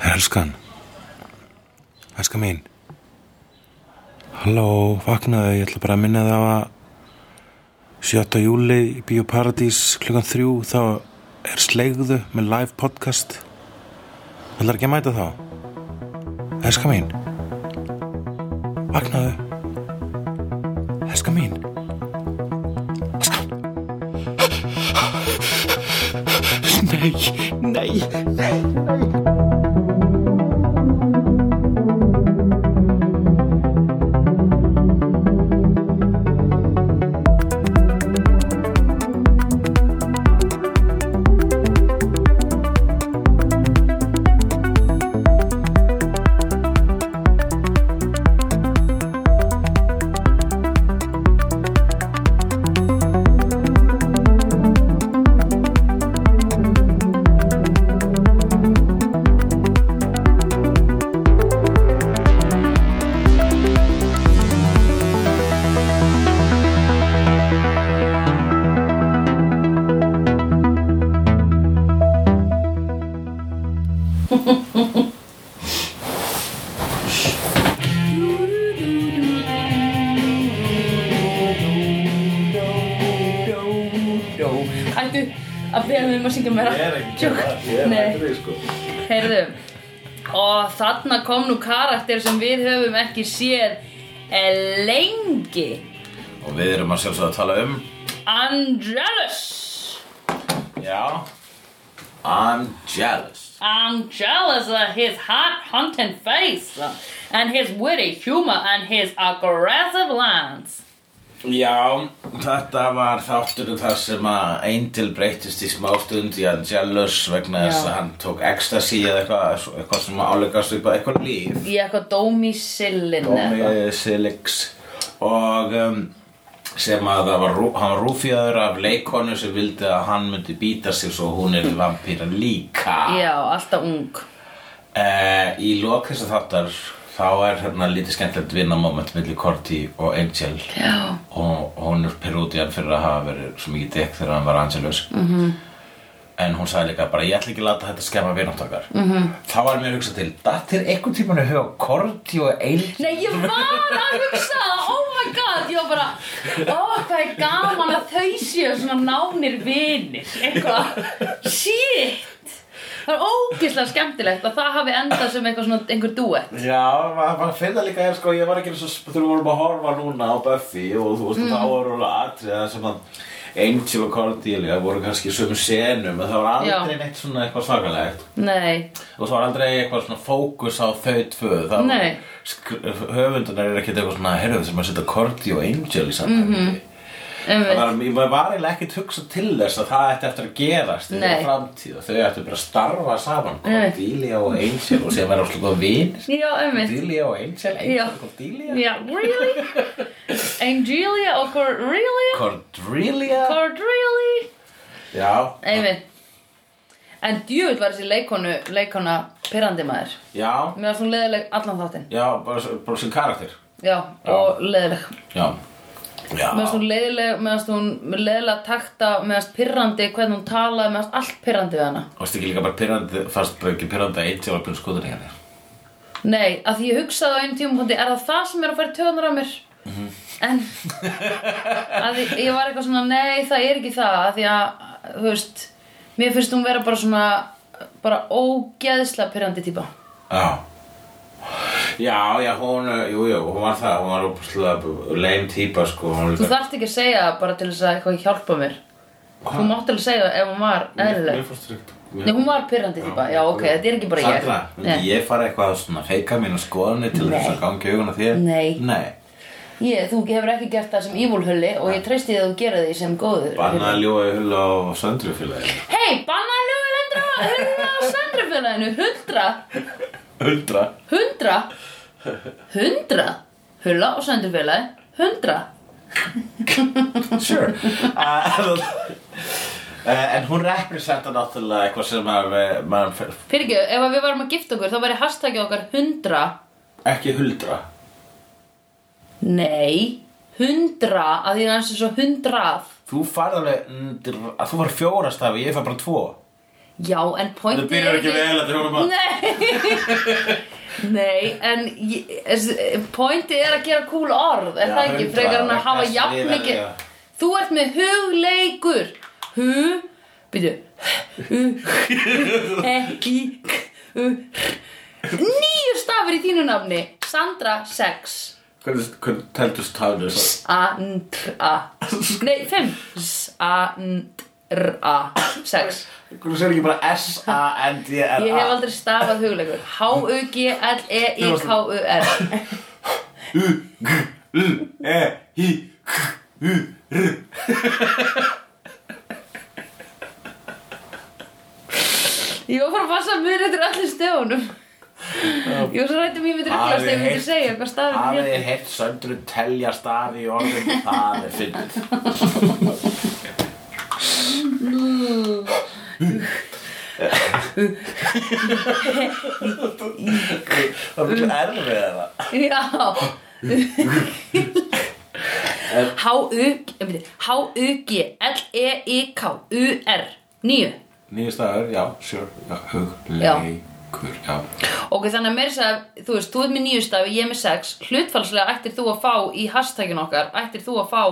Elskan. Elskan mín. Halló, vaknaðu, ég ætla bara að minna það á að 7. júli í Bíóparadís klukkan þrjú þá er sleigðu með live podcast. Það er ekki að mæta þá. Elskan mín. Vaknaðu. Elskan mín. Nei, nei, nei Ættu að beða mig um að syngja meira Ég er ekki Ég er ekki sko Heyrðu Og þarna kom nú karakter sem við höfum ekki séð eh, lengi Og við erum að sjálfsögða að tala um Angelus Já I'm jealous I'm jealous of uh, his hot hunting face and his witty humor and his aggressive lines Já, þetta var þátturinn þar sem að Angel breytist í smástund í hann jealous vegna þess Já. að hann tók ecstasy eða eitthvað, eitthvað sem álegast upp að eitthvað líf í eitthvað domicillin Dómi Silix og um, sem að það var, rú- hann var rúfjaður af leikonu sem vildi að hann myndi býta sig svo hún er vampíra líka Já, alltaf ung Uh, í lok þess að þáttar þá er hérna lítið skemmtilegt vinnamoment millir Korti og Angel Já og hún er perútiðan fyrir að hafa verið svo mikið dekk þegar hann var Angelus -hmm. Mhm. en hún sagði líka bara ég ætla ekki að láta þetta skemma vináttakar mm Mhm. -hmm. þá var mér hugsað til dattir einhvern tímann að huga Korti og Angel Nei, ég var að hugsa það, oh my god, ég var bara, ó, hvað er gaman að þau séu svona nánir vinir, eitthvað, shit, það er ógeðslega skemmtilegt að það hafi endað sem eitthvað svona, einhver duett. Já, maður maður finna líka er sko, ég var ekki eins og þegar við vorum að horfa núna á Buffy og þú veist, Mhm. þá voru alveg atriða sem að Angel og Cordelia voru kannski í sömu senum en það var aldrei Já. neitt svona eitthvað svakalegt Nei, og það var aldrei eitthvað svona fókus á þau tvö það var, Nei. sk- höfundunar er ekkert eitthvað svona herðu sem að setja Cordy og Angel í samhengi mm -hmm. það Mhm, einmitt, var, ég var var eiginlega ekkert hugsa til þess að það ætti eftir að gerast í Nei. framtíð og þau ættu bara að starfa saman Cordelia og Angel og sem er alltaf góð vinir já, einmitt, Cordelia og Angel, Já. Angel og Cordelia já, really, Angelia og Cor, really, Cordelia Cord, really, Já, einmitt, en djúvill var þessi leikonu, leikona pyrrandi maður, já, mér varst hún leðileg allan þáttinn, já, bara, bara sem karakter já, og leðileg. Já, já meðast hún leiðileg, meðast hún leiðilega takta, meðast pirrandi, hvernig hún talaði, meðast allt pirrandi við hana. Varstu ekki líka bara pyrrandi, fast bara ekki pyrrandi að Angel var búin skoðin í henni hérna? Nei, að því ég hugsaði á einu tímapunkti, er það það sem er að fara töðunar á mér? Mhm. En að því, ég var eitthvað svona, nei, það er ekki það, að því að, þú veist, mér finnst hún vera bara svona, bara ógeðslega pirrandi típa. Já Já, já, hún, eh, jú, jú, hún var það, hún var úpslega leim típa, sko, hún Þú líka þarft ekki að segja það bara til þess að eitthvað hjálpa mér. Þú mátt alveg segja það ef hún var Mér eðlileg. fórst reykt Nei, hún var pirrandi típa, já, ok, þetta er ekki bara ég. Sandra, myndi Nei. ég fara eitthvað að svona feika mínu skoðunni til Nei. þess að gangi augun á þér? Nei. Nei, Ég, þú hefur ekki gert það sem ívúlhulli og ég treysti því að þú gera því sem góður. banna að ljóa í hull á söndrufélagi Hei, banna að ljóða hundra, hundra á sandrufélaginu, hundra, Hundra hundra, hundra, hulla á sandrufélagi, hundra. Sure uh, En hún representa náttúrulega eitthvað sem að eh, maður fer- Fyrirgeðu, ef að við varum að gifta okkur, þá væri hashtagið okkar hundra, ekki huldra nei, hundra, að því það er eins og svo hundrað. Þú farð alveg, mm, dr- þú var fjóra stafi, ég fær bara tvo Já, en pointi Það byrjar ekki vel, þetta er honum að Nei Nei, en pointi er að gera cool orð Er Já, það ekki hundrað, frekar en að vegna hafa þess jafn við verðum mikið að- Þú ert með hugleikur Hug Býtu Ekki Nýju stafir í þínu nafni Sandra 6 Hvernig, hvernig teltust tafnir þess A-n-tr-a Nei, 5 A-n-tr-a 6 að Hvernig segir ekki bara S-A-N-D-R-A Ég hef aldrei stafað hugleikur E H-U-G-L-E-I-K-U-R E U-G-U-E-H-I-K-U-R Ég var bara að passa mér eftir allir stegunum Ég var svo rættum ég myndi rugglast Hafið Ég myndi heyrt- segja hvað stafið Hafið er þið heitt söndru telja stafi í orðum Það er fyndið Það er mjög erfið það Já H-U-G E H-U-G-L-E-I-K-U-R Nýju Nýju staður, já, sure já, Hugleikur, já Ok, þannig að mér segja, þú veist, þú ert með nýju stafi, ég er með sex Hlutfallslega ættir þú að fá í hashtagin okkar Ættir þú að fá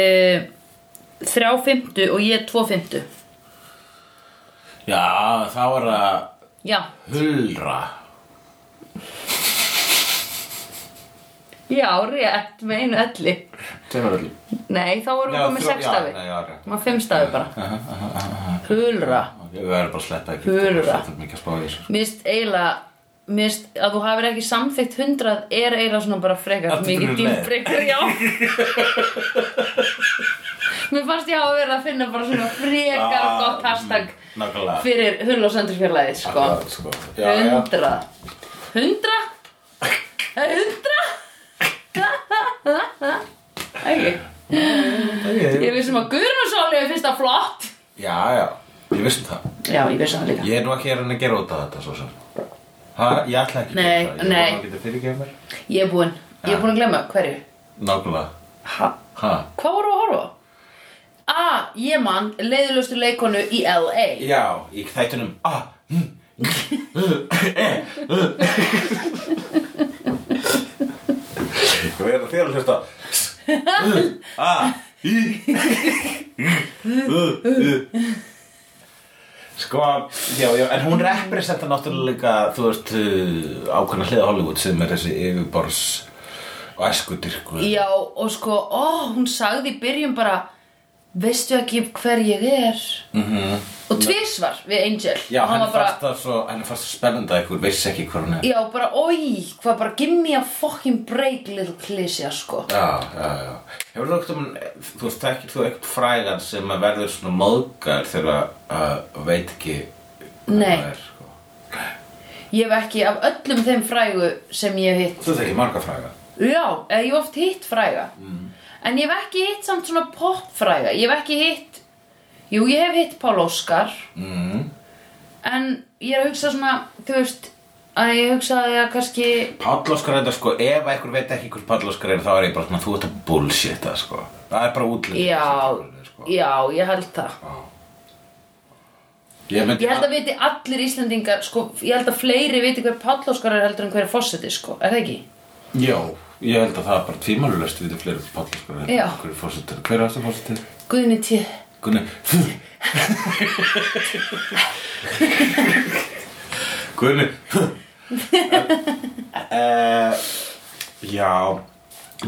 uh, Þrjá fimmtu og ég tvo fimmtu Já, þá er það Já Hulra Já, rétt, með einu elli Tveimur öll Nei, þá erum við með sex stafi Já, já, já Má fimm stafi bara Hulra Við verðum bara að sleppa ekki Hulra. Þetta er mikið að spá í þessu sko. Mist eiginlega Mist að þú hafir ekki samþykkt hundrað Er eiginlega svona bara frekar Aftur Mikið fyrir leið. dýmbreykar, já Mér fannst ég hafa verið að finna bara svona frekar Ah, gott hashtag Nákvæmlega Fyrir hull og söndurfjarlæði sko Akkurat, sko. Já, já. Hundrað Hundrað Hundrað Ægir Ég vissum að Guðrúnsson er fyrsta flott Já, já, ég vissi það Já, ég vissi það líka Ég er nú ekki að reyna að gera út af þetta svo sem Ha, ég ætla ekki að Nei, gera það Ég nei. er nú að geta fyrirgefa mér Ég er búinn, ég er búinn að glemma, hverju? Nákvæmlega Ha? Ha? Hvað voru að horfa? á? Ah, ég man leiðilustu leikonu í LA Já, í þættunum A hm, E Ég veit að þér að hlusta A Í U, U. Sko, já, já, en hún representa náttúrulega, þú veist, uh, ákveðna hliða Hollywood sem er þessi yfirbors og æskudyrku Já, og sko, ó, hún sagði í byrjun bara Veistu ekki hver ég er? Mm -hmm. Og tvísvar við Angel Mhm. Já, Og hann henni var fannst bara, það svo, henni fannst það spennandi að ykkur vissi ekki hvað hún er já, bara, oi, hvað bara Give me a fucking break, little klysja, sko Já, já, já. Hefur þú ekkert um, þú veist, þekkir þú ekkert frægan sem að verður svona móðgar þegar að uh, veit ekki hvað Nei. það er, sko. Ég hef ekki af öllum þeim frægu sem ég hef hitt Þú þekkir marga fræga. Já, eða ég hef oft hitt fræga En ég hef ekki hitt samt svona popfræga Ég hef ekki hitt Jú, ég hef hitt Pál Óskar Mm. En ég er að hugsa svona, þú veist Að ég hugsaði að kannski Pallóskar er þetta, sko, ef einhver veit ekki hvers pallóskar er, þá er ég bara svona, þú ert að bullshitta, sko. Það er bara útlýtt. Já, sko. já, ég held það Ég, myndi, Ég held að viti allir Íslendingar sko, Ég held að fleiri viti hver Pál Óskar er heldur en hver er fósiti, sko Er það ekki? Já, ég held að það er bara tvímalulöst við þetta fleiri pallóskar. Já. Hver er fórsetur? Hver er þetta fórsetur? Guðni T Gunni Gunni uh, Já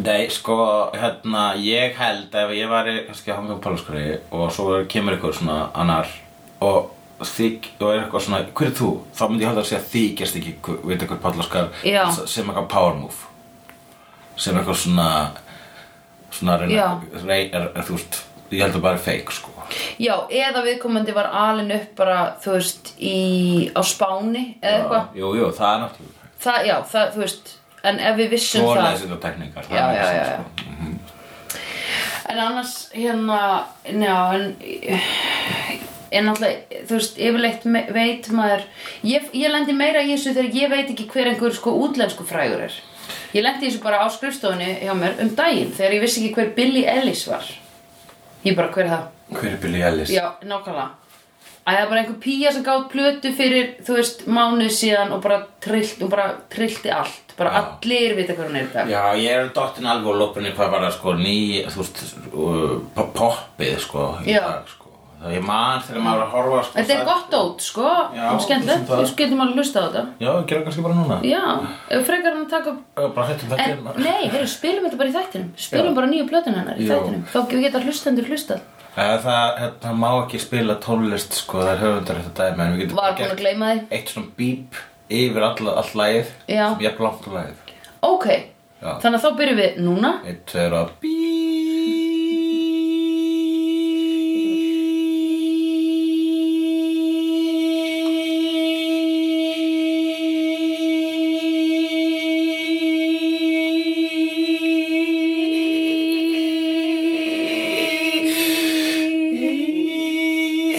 Nei, sko, hérna, ég held ef ég væri, kannski, hann með pálaskari og svo kemur eitthvað svona annar og þig, og er eitthvað svona hver er þú? Þá myndi ég halda að segja þykjast ekki hver- veit eitthvað pálaskar Já. sem eitthvað power move sem eitthvað svona svona reyna, Já. rey, er, er, þú veist ég held að bara er fake, sko Já, eða viðkomandi var alin upp bara, þú veist, í, á Spáni eða eitthvað Jú, jú, það er náttúrulega Það, já, það, þú veist En ef við vissum Svo það leysið og tekníkar Já, já, já, já. En annars, hérna, njá, en En alltaf, þú veist, yfirleitt me- veit maður Ég, ég lendi meira í þessu þegar ég veit ekki hver einhver sko útlensku frægur er Ég lendi í þessu bara á skrifstofunni hjá mér um daginn Þegar ég vissi ekki hver Billy Ellis var Ég bara, hver er það? Hver er Billy Ellis? Já, nákvæmlega Æ, það er bara einhver pía sem gátt plötu fyrir, þú veist, mánuð síðan og bara trillt, og bara trillti allt. Bara Já. allir vita hvað hún er í dag. Já, ég er um dottin alveg á loppunni hvað var það sko ný, þú veist, uh, po- poppið sko í Já. dag sko. Það ég man þegar maður var að horfa sko. Þetta er það- gott ótt, sko. Já, og skemmtilegt. það- Þú getum alveg hlusta á þetta. Já, ég gera kannski bara núna. Já, ef frekar hann að taka upp... Já, bara hættum þetta hérna. En, nei, heyrðu, spilum þetta bara í þættinum. Spilum Já. bara nýju plötun hennar í Já. þættinum. Þá geta hlustendur hlustað. Það, það, hérna, það, má ekki spila tónlist sko, það er höfundar þetta dæmi, en við getum Var búin að gleyma því. eitt svona bíp yfir all, all lagið, Já. sem ég blant á lagið. Ok, Já. þannig að þá byrjum við núna. Eitt, tveir og bíp.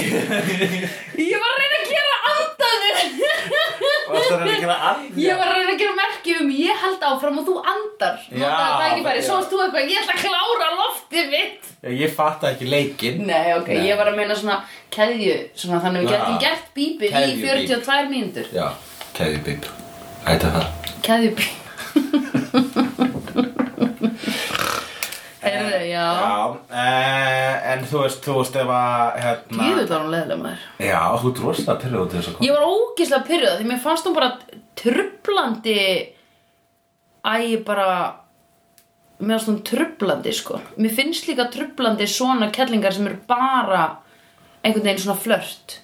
Ég var að reyna að gera andanir. Varstu að reyna að gera alveg? Ég var að reyna að gera merki um ég held áfram og þú andar. Já, Notaðu tækifæri, já. svo varst þú eitthvað, ég ætla að klára loftið mitt. Ég, ég fatta ekki leikinn Nei, ok, Nei. ég var að meina svona keðju, svona þannig að við Já. getum gert bíbir í Keðjubíp. 42 mínútur. Já, keðið bíl Ætta það Keðju bíbir. Heyrðu, já. eh, En þú veist, þú veist ef að hérna, Jú, var hún leðilega maður. Já, þú dróst það til þau til þess að koma Ég var ógislega pyrröð því mér fannst hún bara trublandi Æ, ég bara Mér fannst hún trublandi, sko Mér finnst líka trublandi svona kellingar sem eru bara einhvern veginn svona flört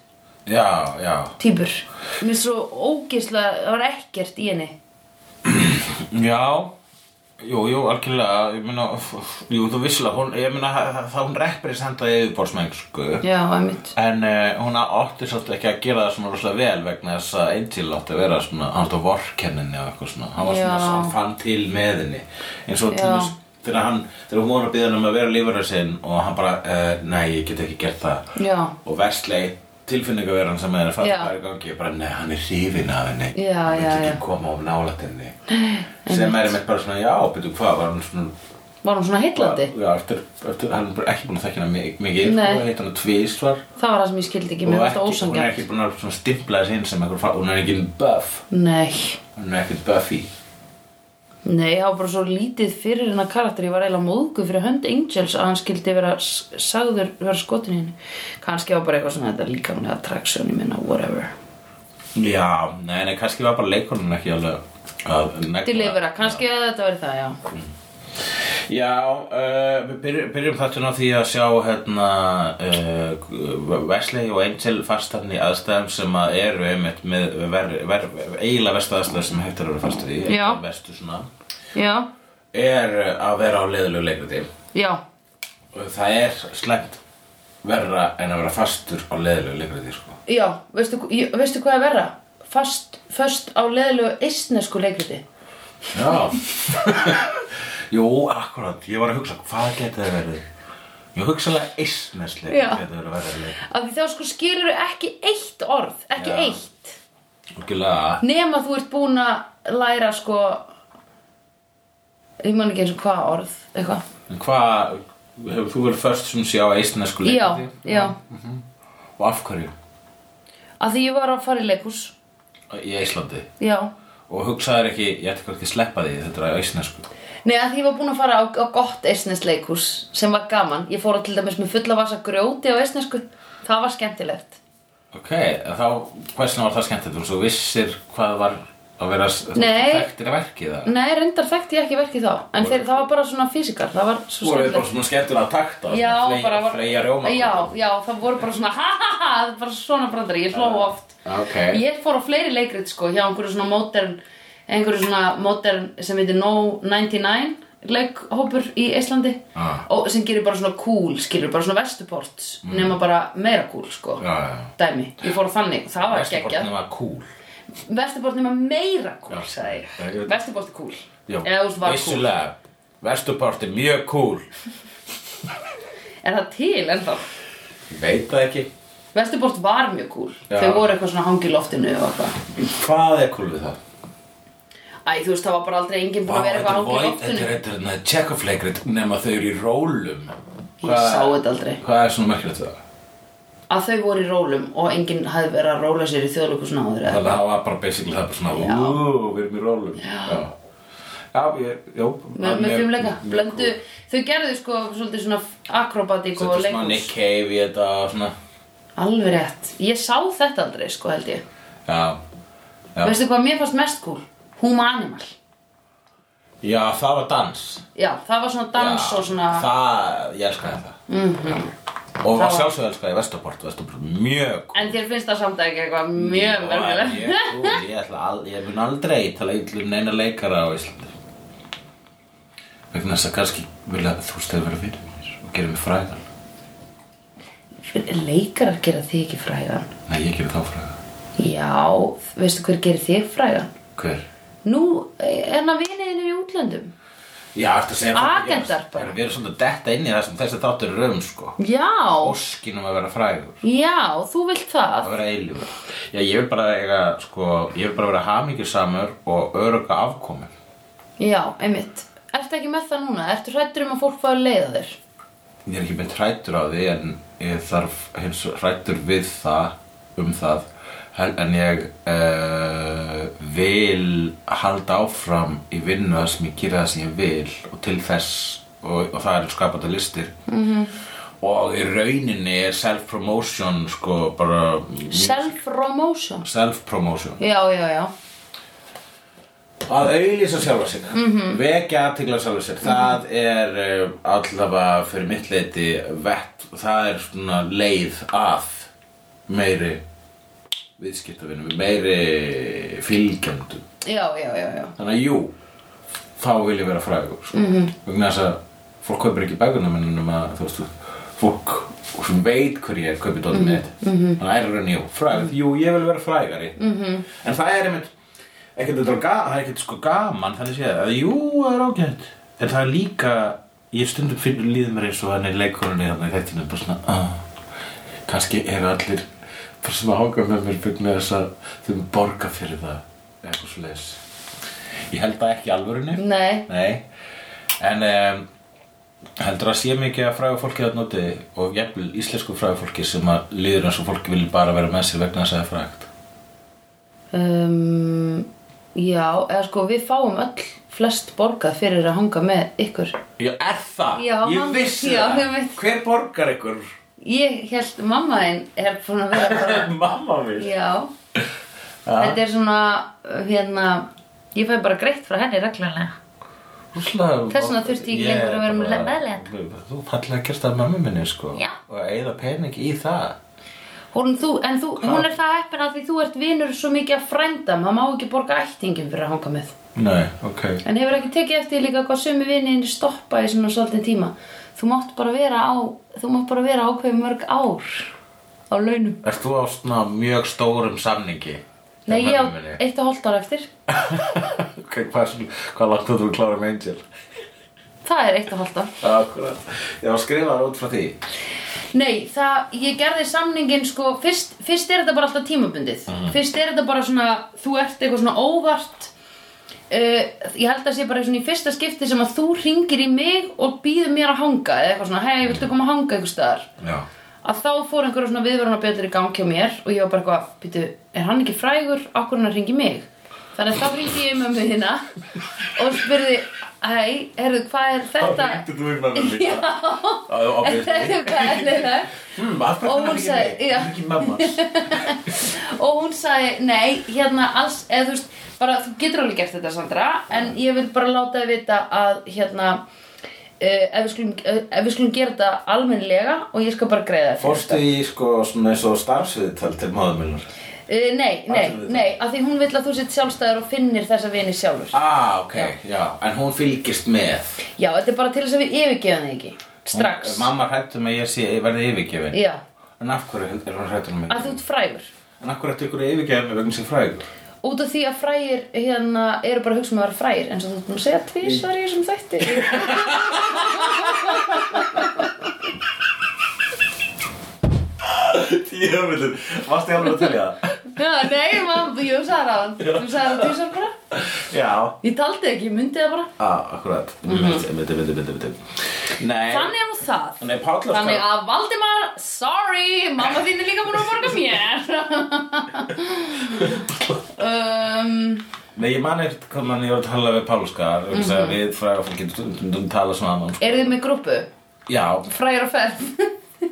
Já, já týpur Mér finnst svo ógislega, það var ekkert í henni Já Jú, jú, algjörlega, ég meina, f- f- jú, þú vissilega, hún, ég meina, það- það hún representaði yfirborðsmennsku, Já, einmitt en eh, hún átti svolítið ekki að gera það svona rosalega vel vegna þess að einn til átti að vera svona, hann átti á vorkenninni og eitthvað svona, hann var svona, Já. hann fann til með henni, eins og til Já. þess, þegar hann, þegar hún var að byggja hann um að vera lífara sinn og hann bara, uh, nei, ég get ekki gert það, Já, og verslei tilfinningaveran sem er að fatta Já. hvað er í gangi ég bara, nei, hann er hrifin af henni Já, hann já, ekki já. koma of nálætt henni sem er einmitt bara svona, já, betur hvað var hann svona var hún svona heillandi? já, eftir, eftir, hann er bara ekki búin að þekkja hana mi- mikið Nei. og heit hann tvísvar Það var það sem ég skildi ekki, mér fannst og það ekki, hún er ósangjart ekki búin að svona stimpla þess inn sem einhver fara, hún er ekki buff Nei, hún er ekkert buffy nei, það var bara svo lítið fyrir hennar karakter Ég var eiginlega móðguð fyrir hönd Angels að hann skildi vera s- sagður vera skotin í henni Kannski var bara eitthvað svona þetta líkamlega attraction, ég minna, whatever já, nei, nei, kannski var bara leikonun ekki alveg að negla- Delivera, kannski að þetta veri það, já Já, uh, við byrjum, byrjum þáttun á því að sjá hérna uh, Wesley og Angel fastarn í aðstæðum sem að eru einmitt með ver, ver, eiginlega verstu aðstæðum sem hægt er að vera fastur í Já. verstu svona Já, er að vera á leiðilegu leikriti já, og það er slæmt verra en að vera fastur á leiðilegu leikriti sko. já, veistu, ég- veistu hvað er verra? Fast, föst á leðilegu eistnesku leikriti Já Jú, akkurat, ég var að hugsa hvað geti það verið Ég hugsaðlega eistnesli Já. geti verið verra leik Af því þá sko skilur ekki eitt orð, ekki Já. eitt Úrgjulega nema þú ert búin að læra sko ég man ekki eins og hvað orð eitthvað, En hvað, hefur þú verið först sem sé á eistnesku já, leikandi? já Og af hverju? að því ég var að fara í leikús Í Íslandi. já, Og hugsaðir ekki, ég ætti kannski að sleppa því þetta er á eistnesku. nei að því ég var búin að fara á, á gott eistnes leikús sem var gaman ég fór til dæmis með fulla vasa grjóti á eistnesku það var skemmtilegt Ok, en þá, hversna var það skemmt þetta? Þú vissir hvað var að vera Nei. Mm, þekktir að verki það? nei, reyndar þekkti ég ekki verkið þá en þeir, það var bara svona físikar það var svo Voru þið skemmtilegt bara svona skemmtilega að takta? já, svona bara var, Freyja rjóma? já, já, það voru bara svona ha ha ha, það var svona brandari, ég hló oft Ok. Ég fór á fleiri leikrit sko hjá einhverju svona modern einhverju svona modern sem heitir No 99 leikhópur í Íslandi Ah. Mm. og sem gerir bara svona cool skilur bara svona vestuports nema bara meira cool sko Já, já. dæmi, ég fór á þannig, það var ekki ekki Vesturbortin var cool. Vestuport nema meira cool, sagði Já, ég ég veit. Vestuport er cool eða þú veist var cool, vissulega. Vesturbortin, mjög cool. er það til ennþá Ég veit það ekki. Vestuport var mjög cool, Já. þau voru eitthvað svona hangi í loftinu og eitthvað Hvað er cool við það? Æ, þú veist, það var bara aldrei enginn búin Vá, að vera þetta eitthvað er hangi í void, loftinu þetta er þetta er check-off leikrit nema þau eru í rólum Ég sá þetta aldrei Hvað er svona merkilegt við það? að þau voru í rólum og enginn hafði verið að róla sér í þjóðleikusna áður eða Þannig að það var bara basically það bara svona, Já. úúú, við erum í rólum. Já. Já, ég, já. með, með fimmleika blöndu, þau gerðu sko svolítið svona akrobatík og Settu smá Nick leikus Cave í þetta og svona. alveg rétt, ég sá þetta aldrei sko held ég Já. Já. veistu hvað mér fannst mest cool? Huma Animal já, það var dans. já, það var svona dans já, og svona Mhm. Það, ég elskaði það. Mm -hmm. Og var- var sjálfsög elskaði Vestaport, Vestaport, mjög en þér finnst það samt ekki eitthvað mjög verðileg. verðileg Ég, ú, ég, ætla al- ég mun aldrei tala yllum neina leikara á Íslandi. Vegna þess að kannski vilja að þú stæði vera fyrir mér og gera mig frægan. leikarar gera þig ekki frægan Nei, ég gera þá frægan. já, veistu hver gerir þig frægan? Hver? nú, eh, en að viniðinu í útlöndum Já, ertu að segja Agentar bara. Við erum svona að detta inn í það sem þessi þáttur er um, sko. já, Óskinum að vera frægur. já, þú vilt það að vera eilífur já, ég vil bara eiga, sko, ég vil bara vera hamingjusamur og öruga afkomi Já, einmitt. Ertu ekki með það núna? Ertu hrættur um að fólk fái að leiða þér? ég er ekki beint hrættur á því en ég þarf hins hrættur við það um það Hel- en ég uh, vil halda áfram í vinnu það sem ég gera það sem ég vil og til þess og, og það er skapandi listir -hmm. og í rauninni er self-promotion sko bara Self-promotion. self-promotion Já, já, já. að auðlýsa sjálfa sig -hmm. vekja aðtigla sjálfa sig það er uh, allavega fyrir mitt leiti vett það er svona leið að meiri viðskiptavinum meiri fylgjöndu Já, já, já, já. þannig að jú þá vil ég vera frægur sko. mm vegna þess að fólk kaupir ekki bækuna minn um að þú veist þú- fólk sem veit hver ég er kaupir dótið mitt mm -hmm. þannig að er raunin jú frægur jú ég vil vera frægari -hmm. en það er einmitt ekkert þetta er ga- það er ekkert sko gaman þannig séð að jú það er ágætt en það er líka ég stundum finnur líður mér eins og hann er leikonunni þannig að þetta er bara svona ah, kannski eru allir bara sem að hanga með mér byggna þess að þau mér borga fyrir það eða eitthvað svo ég held það ekki í alvörunni Nei. Nei. En um, heldur að sé mikið að fræga fólki að noti og jafnvel íslensku fræga fólki sem að líður eins og fólki vilja bara vera með sér vegna þess að það er frægt. Um, já, eða sko við fáum öll flest borgað fyrir að hanga með ykkur. Já, er það? Já, ég hann- vissi já, það. ég veit. Hver borgar ykkur? Ég held mamma þinn er búin að vera bara... Mamma mín. já. Þetta er svona, hérna, ég fæ bara greitt frá henni reglulega. um Þess vegna þurfti ég ekki lengur að vera með meðlega. Þú fallega gerst það mömmu minni sko Já. og eigða pening í það Hún, þú, en þú, hún er það eppin að því þú ert vinur svo mikið að frænda, maður má ekki borga ættingum fyrir að hanga með. Nei, ok En hefur ekki tekið eftir líka hvað sömu vinninni stoppa í svona svolítið tíma? Þú mátt bara vera á, þú mátt bara vera ákveðið mörg ár á launum. Ert þú á svona mjög stórum samningi? hjá Nei, ég á mömmu minni? eitt og hálft ár eftir. Ok, Hvað, hvað langt þú að klára með Angel? Það er eitt og hálft ár. Akkurat, ég var að skrifa það út frá því Nei, það, ég gerði samningin sko, fyrst, fyrst er þetta bara alltaf tímabundið. Mhm. Fyrst er þetta bara svona, þú ert eitthvað svona óvart. Uh, ég held að sé bara svona í fyrsta skipti sem að þú ringir í mig og býður mér að hanga eða eitthvað svona, hei, viltu koma að hanga einhver staðar? Já, að þá fór einhverjum svona viðvörunarbjöldur í gang hjá mér og ég var bara eitthvað, býtu, er hann ekki frægur, okkur hann að ringi mig? Þannig að þá ringi ég mömmu þína og spurði, hei, herðu, hvað er þetta? þú í mamma mín Já, Herðu, hvað er þetta? og Og hún sagði, já. Ekki mamma Og hún sagði, nei, hérna alls, eða þú veist, bara, þú getur alveg gert þetta, Sandra, en ég vil bara láta þið vita að, hérna, Uh, ef, við skulum, uh, ef við skulum gera þetta almennilega og ég skal bara greiða þér fyrir Fórstu í sko svona eins og starfsviðtal til maður minnar Uh, nei, nei, Allir við nei, að því hún vill að þú sett sjálfstæður og finnir þessa vini sjálfur. Ah, ok, já, en hún fylgist með Já, þetta er bara til þess að við yfirgeðum þig ekki. Strax. hún, Mamma hrættum að ég sé, ég verði yfirgefin Já, En af hverju er hún hrættur um mig? að þú ert frægur. En af hverju ertu ykkur að yfirgefa mig vegna sem frægur? Út af því að frægir, hérna, eru bara að hugsa um að vera frægir, eins og þú ert búin að segja tvísvar í þessum þætti. Tíðamillin, varstu ég alveg að telja það? Já, nei, mamma, jú, sagði það á hann. Þú sagði það tvísvar bara. Já, Ég taldi ekki, ég myndi það bara ah, akkurat Viti, viti, viti, viti, viti Nei, Mhm. Þannig er nú það nei Páll er Þannig að Valdimar, sorry Mamma þín er líka búin að borga mér um, Nei, ég man eitt hvernig ég var að tala við Páll Skar mm -hmm. Mhm. Við fræga fólk getum stundum tala svona um, Eru þið með grúpu? Já, Fræjar og ferð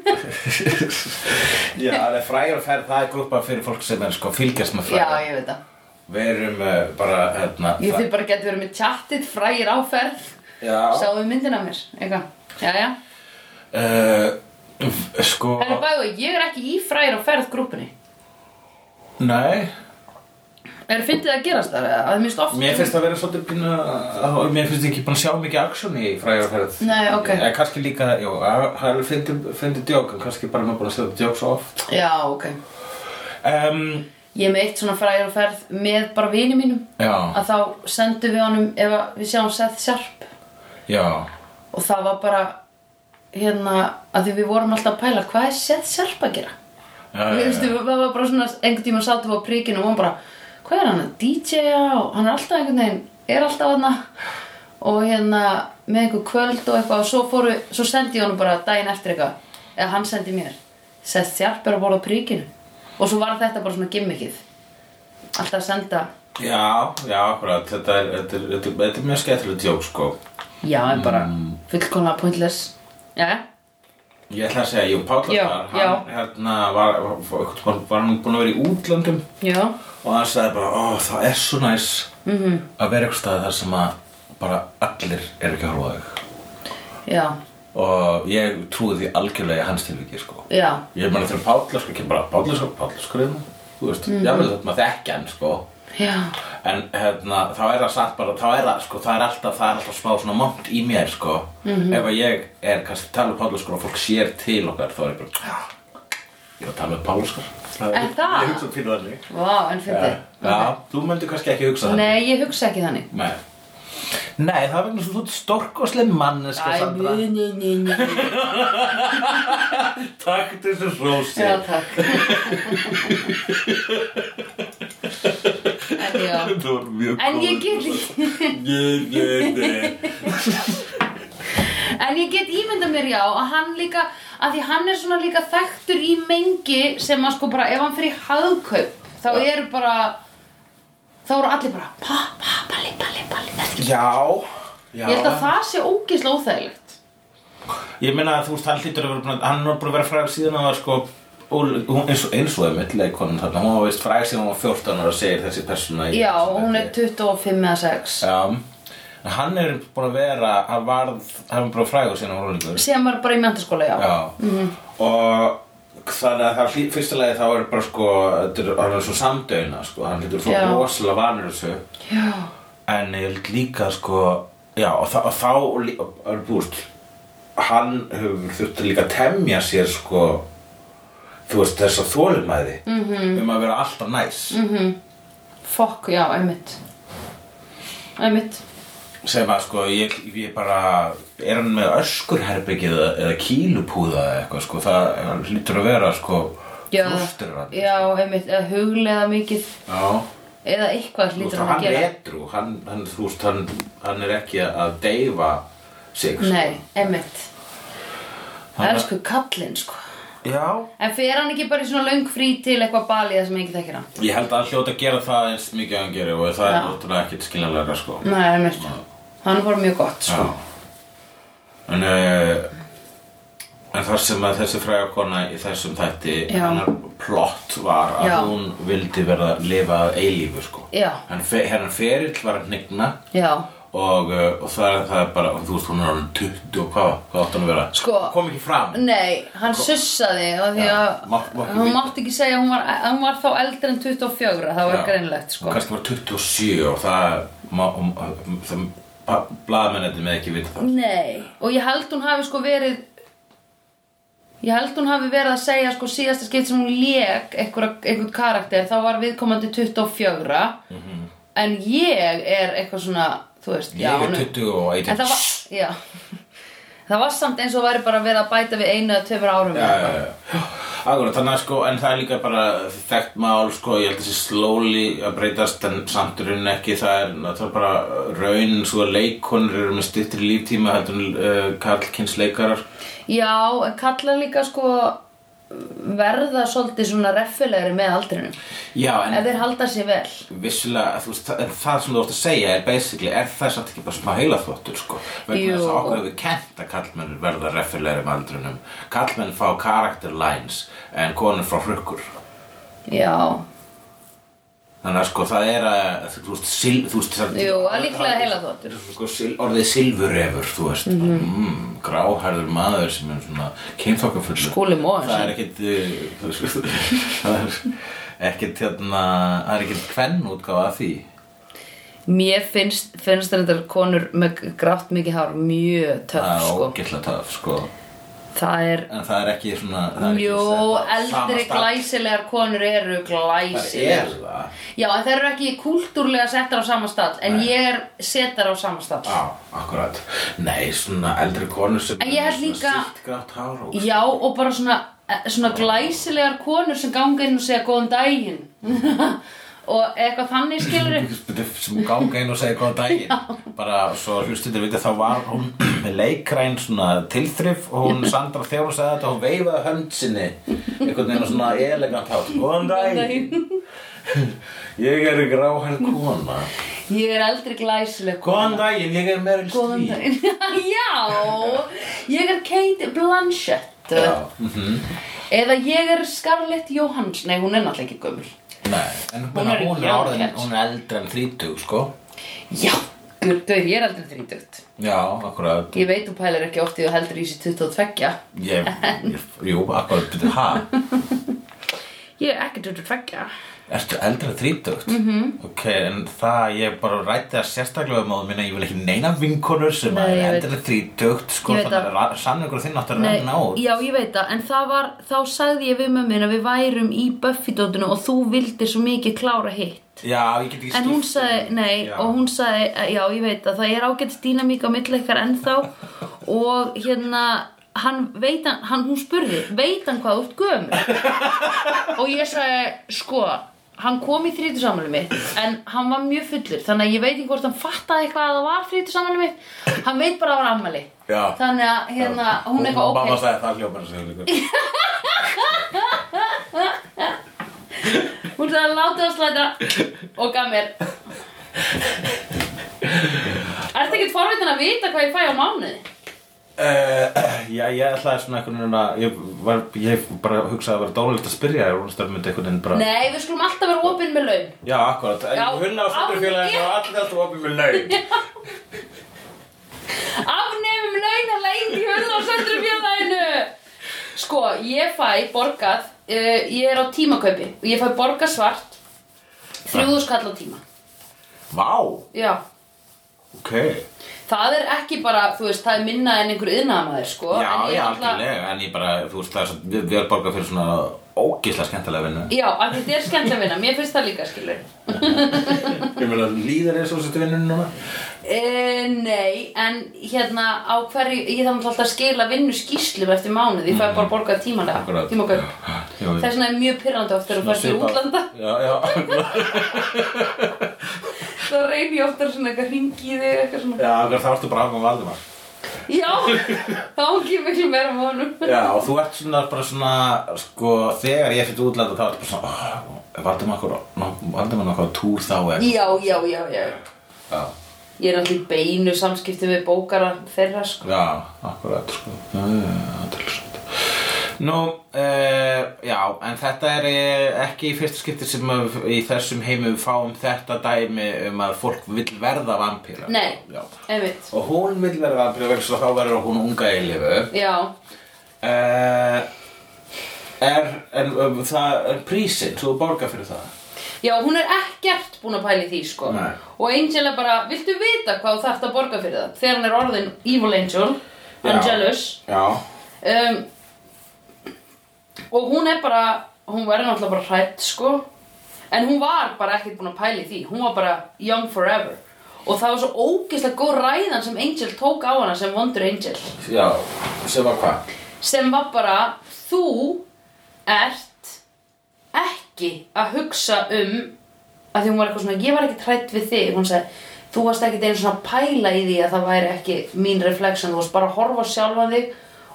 já, það er frægar ferð Það er grúpa fyrir fólk sem er sko að fylgjast með Já, fræga ég veit það Við erum uh, bara, hérna Ég það- þið bara getur verið með chatið fræjar á ferð Já, Sáðu myndina af mér, eitthvað Já, já uh, sko Herra bæðu, ég er ekki í fræjar á ferð grúpunni Nei, Er fyndið að gerast það? eða? Að mér finnst oft um- mér finnst það að vera svolítið pínu að- Mér finnst ég ekki búin að sjá mikið action í frægar ferð Nei, ok. Eða kannski líka, jú, það er fyndið fyndi djók En kannski bara maður búin að setja djók svo oft Já, ok um, Ég er með eitt svona fræjar á ferð með bara vini mínum Já, að þá sendum við honum ef að við sjáum Seth Sharp já og það var bara hérna að því við vorum alltaf að pæla hvað er Seth Sharp að gera Já, við já, veistu, já. það var bara svona einhvern tíma sátum við á prikinu og hann bara hvað er hann að DJ-a og hann er alltaf einhvern veginn er alltaf hann og hérna með einhver kvöld og eitthvað og svo, fóru, svo sendi ég honum bara daginn eftir eitthvað eða hann sendi mér Seth Sharp er að borða á prikinu og svo var þetta bara svona gimmickið alltaf að senda Já, já, akkurat, þetta er, þetta er, þetta er, þetta er mjög skemmtileg djók, sko. Já, en bara Mm. fullkomlega pointless Já, Ég ætla að segja, jú, Páll Já, var, já. hann, hérna, var, var, var, var hann búinn að vera í útlöndum já, og hann sagði bara, ó, það er svo næs -hmm. Mhm. að vera eitthvað staðið þar sem að bara allir eru ekki að horfa á þig. já, Og ég trúi því algjörlega í hans tilviki, sko. já Ég meina þegar Páll, sko, kemur bara, Páll, sko, Páll, sko, hérna, þú veist, Mhm. mm -hmm. jáfnvel þetta maður þekki hann, sko. Já, En hérna, þá er það satt bara, þá er það, sko, það er alltaf, það er alltaf smá svona mont í mér, sko. Mhm. Ef að ég er kannski að tala um pálaskur og fólk sér til okkar, þá er ég bara, "Ah, ég er að tala um pálaskur. Er það? Ég hugsa pínu þannig. vá, en Já, fyndi Já, þú myndir kannski ekki hugsa þannig. Nei, ég hugsa ekki þannig Nei. Nei, það er vegna svo þú ert storkosleg manneska, Æ, Sko, Sandra. ný, ný, ný, ný Takk til þessu rósi. Já, takk En já Það var mjög góð. En ég get ekki Ég, ég, ég. En ég get ímyndað mér já að hann líka að því hann er svona líka þekktur í mengi sem að sko bara ef hann fyrir hagkaup þá eru bara þá eru allir bara pa, pa, palli, palli, palli þetta er ekki- Já. Já. Ég held að það sé ógeðslega óþægilegt Ég meina að þú veist, hann hlýtur að vera búin að, hann var búin að vera fræg síðan að var sko, og, hún, eins og eins og einmitt leikonin þarna, hún var veist fræg síðan hún var 14 ára, segir þessi persóna. í- Já, hún er 25 eða 6 Já, en hann er búin að vera, hann var, hann var bara frægur síðan hún var unglingur. sem var bara í mentaskóla, já. Já, Mhm. og þannig að það hlý- fyrsta lagi þá er bara sko, þetta er hann er svo samdöina, sko, hann hlýtur svo Já. rosalega vanur þessu. Já. En ég held líka sko Já, og, þá- og þá og lí- og- og búst, Hann hefur þurft líka að temja sér sko Þú veist þess að þólumæði Mhm. -hmm. Um að vera alltaf næs Fokk, já, einmitt. Einmitt. Sem að sko ég, ég bara Er hann með öskurherbyggið eða, eða kýlupúða eða eitthvað sko Það hann hlýtur að vera sko Já, Frústrerandi. já, einmitt, eða huglega mikið, Já eða eitthvað Þú hlýtur veist, hann að hann er gera. etru, hann, hann, þú veist, hann, hann er ekki að deyfa sig sko. Nei, einmitt. Hann- Elsku kallinn, sko. Já, En fer hann ekki bara í svona löng frí til eitthvað balið sem ekki þekkir hann? Ég held að hann hljóta að gera það eins mikið að hann gerir og það Já. Mm. er náttúrulega ekkert skiljanlega sko. Nei, einmitt. Hann var mjög gott, sko. En, uh, en þar sem að þessi fræga kona í þessum þætti Já. hennar plott var að Já. hún vildi verða að lifa að eilífu sko. Já. Hennar, fe, hennar ferill var að hnigna Já. og, uh, og það, er- það er bara, þú veist, hún er orðin 20 og hvað, hvað átt hann að vera? Sko- Kom ekki fram. Nei, hann sussaði af því Já, að mátt- mátti hún vita. mátti ekki segja að hún var, að hún var þá eldri en 24, það var greinlegt, sko. Hún kannski var 27 og það, ma- um, um, það blaðmennandi með ekki vita það. Nei, og ég held hún hafi sko verið Ég held hún hafi verið að segja sko síðasta skipt sem hún lék einhver, einhver karakter, þá var viðkomandi 24 en ég er eitthvað svona, þú veist Mhm. Ég er 20 og 18 En það var, já Það var samt eins og væri bara verið að bæta við einu eða tveimur árum Já, eða já, eitthvað. já. Akkurat, þannig að sko, en það er líka bara þekkt mál, sko, ég held þessi slóli að breytast en samt í rauninni ekki, það er náttúrulega bara raun, svo að leikonur eru með styttri líftíma, heldur en uh, karlkins leikarar. Já, en kallar líka sko verða svolítið svona reffilegri með aldrinum Já, en ef þeir halda sér vel vissulega, þú veist, það, en það sem þú ert að segja er basically, er það samt ekki bara smá heilaþvottur, sko, Jú. vegna þess að okkur hefur kent að kallmenn verða reffilegri með aldrinum. Kallmenn fá character lines en konur frá hrukkur. Já, Þannig að sko það er að, þú veist, sil, þú veist það- Jú, að líklega heilaþvottur. Sko, sil, orðið silfurefur, þú veist, mm Mhm. gráhærður maður sem er svona kynþokkafullur. Skúli Mogensen. Það er ekkit, uh, þú veist, það er ekkit, hérna, það er ekkit kvenn útgáfa af því. mér finnst, finnst þetta konur með grátt mikið hár mjög Það töff er sko ógætla töf, sko. Það er, En það er ekki svona, það er ekki jú, sett á sama eldri stall. glæsilegar konur eru Það glæsilegar er það. Já, en þær eru ekki kultúrlega settar á sama stall en ég er settar á sama stall Á, akkurat. Nei, svona eldri konur sem En ég held svona líka- sítt grátt hár og Já, og bara svona, eh, svona glæsilegar konur sem ganga inn og segja góðan daginn og eitthvað þannig skilur sem ganga inn og segja góðan daginn bara svo hlustundir vita þá var hún með leikræn svona tilþrif og hún Sandra þegar hún sagði þetta hún veifaði hönd sinni einhvern veginn á svona elegant hát góðan daginn ég er gráhæl kona Ég er eldri glæsileg góðan daginn, ég er Meryl Góðan Streep daginn Já, ég er Kate Blanchett Já, mhm. Eða ég er Scarlett Johansson Nei, hún er náttúrulega ekki gömul Nei, en Hún hún er er, hún er, young orðin, cat. hún er eldri en 30 sko Já, gurgur, ég er eldri þrítugt Já, akkurat Ég veit þú pælar ekki oft í þú heldur í sér 22 ég, ég, Jú, akkurat, betur, ha? Ég er ekki 22 Ertu eldri en 30? Mm Mhm. Ok, en það ég bara rætti það sérstaklega um að minna ég vil ekki neina vinkonur sem Nei, að ég er veit. eldri en 30 sko, Ég veit þannig það. að sannleikur þinn átti að Nei, renna út já, ég veit það, en það var, þá sagði ég við mömmin að við værum í Buffy-dótinu og þú vildir svo mikið klára hitt. Já, ég get ekki En hún skipt sagði, um- nei, Já. og hún sagði, eh, já, ég veit það, það er ágætt dýnamík á milli ykkar ennþá og hérna, hann veit hann, hann hún spurði, veit hann hvað þú ert gömur? og ég sagði, sko, hann kom í þrítusamhæli mitt, en hann var mjög fullur, þannig að ég veit ekki hvort hann fattaði hvað það var þrítusamhæli mitt, hann veit bara að það var ammæli. Já. Þannig að, hérna, hún er Og eitthvað, mamma ok, sagði það hljópar sig líka Hún sagði látið að slæta og gaf mér Ertu ekkert forvitin að vita hvað ég fæ á mánuði? Uh, já, ég ætlaði svona einhvern veginn að ég, var, ég bara hugsaði að vera dálíkt að spyrja ég vonast að það myndi einhvern veginn bara Nei, við skulum alltaf vera opinn með laun Já, akkurat, en Já, hunna á stundurfélaginu af- og allir þetta opið með laun Afnefum launalein í hurð á söndrufjörðaðinu Sko, ég fæ borgað uh, Ég er á tímakaupi og ég fæ borgað svart Þrjúðu skall á tíma Vá, Já, ok það er ekki bara, þú veist, það er minna en einhver yðnaðamaður, sko Já, en ég já, ætla- algjörlega, en ég bara, þú veist, það er svo vel borgað fyrir svona ógisla skemmtilega vinnu Já, af því þetta er skemmt að vinna, mér finnst það líka, skilur Ég vil að líða þér svo setja vinnunum núna Uh, nei, en hérna á hverju, ég þarf náttúrulega alltaf að skila vinnu skýslum eftir mánuð, ég fæ bara að borga tímalega, Mhm. Akkurat tímakaup. Já, Það er svona mjög pyrrandi oft þegar þú fært til útlanda, Já, já, akkurat þá reyni ég oftar svona eitthvað hringi í þig eitthvað svona. Já, akkurat, þá ertu bara af með Valdimar Já, þá ekki miklu meira mánum. Já, og þú ert svona bara svona, sko, þegar ég fyrir útlanda þá ertu bara svona, oh, Valdimar okkur, Valdimar okkur á túr þá eða Já, já, já, já. Já, Ég er allir beinu samskipti við bókara þeirra, sko. já, akkurat, sko Já, já, já, þetta er svona Nú, uh, já, en þetta er eh, ekki í fyrsta skipti sem að, í þessum heimi við fáum þetta dæmi um að fólk vill verða vampíra Nei, Já, einmitt. Og hún vil vera vampíra vegna þess að þá verður hún unga í lifu Já, uh, Er, en um, það er prísinn, svo þú borgar fyrir það já, hún er ekkert búin að pæli því, sko. Nei. Og Angel er bara, viltu vita hvað þú þarft að borga fyrir það? Þegar hann er orðin Evil Angel, Angelus. Já, um, og hún er bara hún verður náttúrulega bara hrætt sko en hún var bara ekkert búin að pæli því hún var bara young forever og það var svo ógeðslega góð ræðan sem Angel tók á hana sem vondur Angel já, sem var hvað? sem var bara þú ert ekki að hugsa um að því hún var eitthvað svona, ég var ekki trætt við þig hún sagði, þú varst ekki einu svona að pæla í því að það væri ekki mín reflection þú varst bara að horfa á sjálfan þig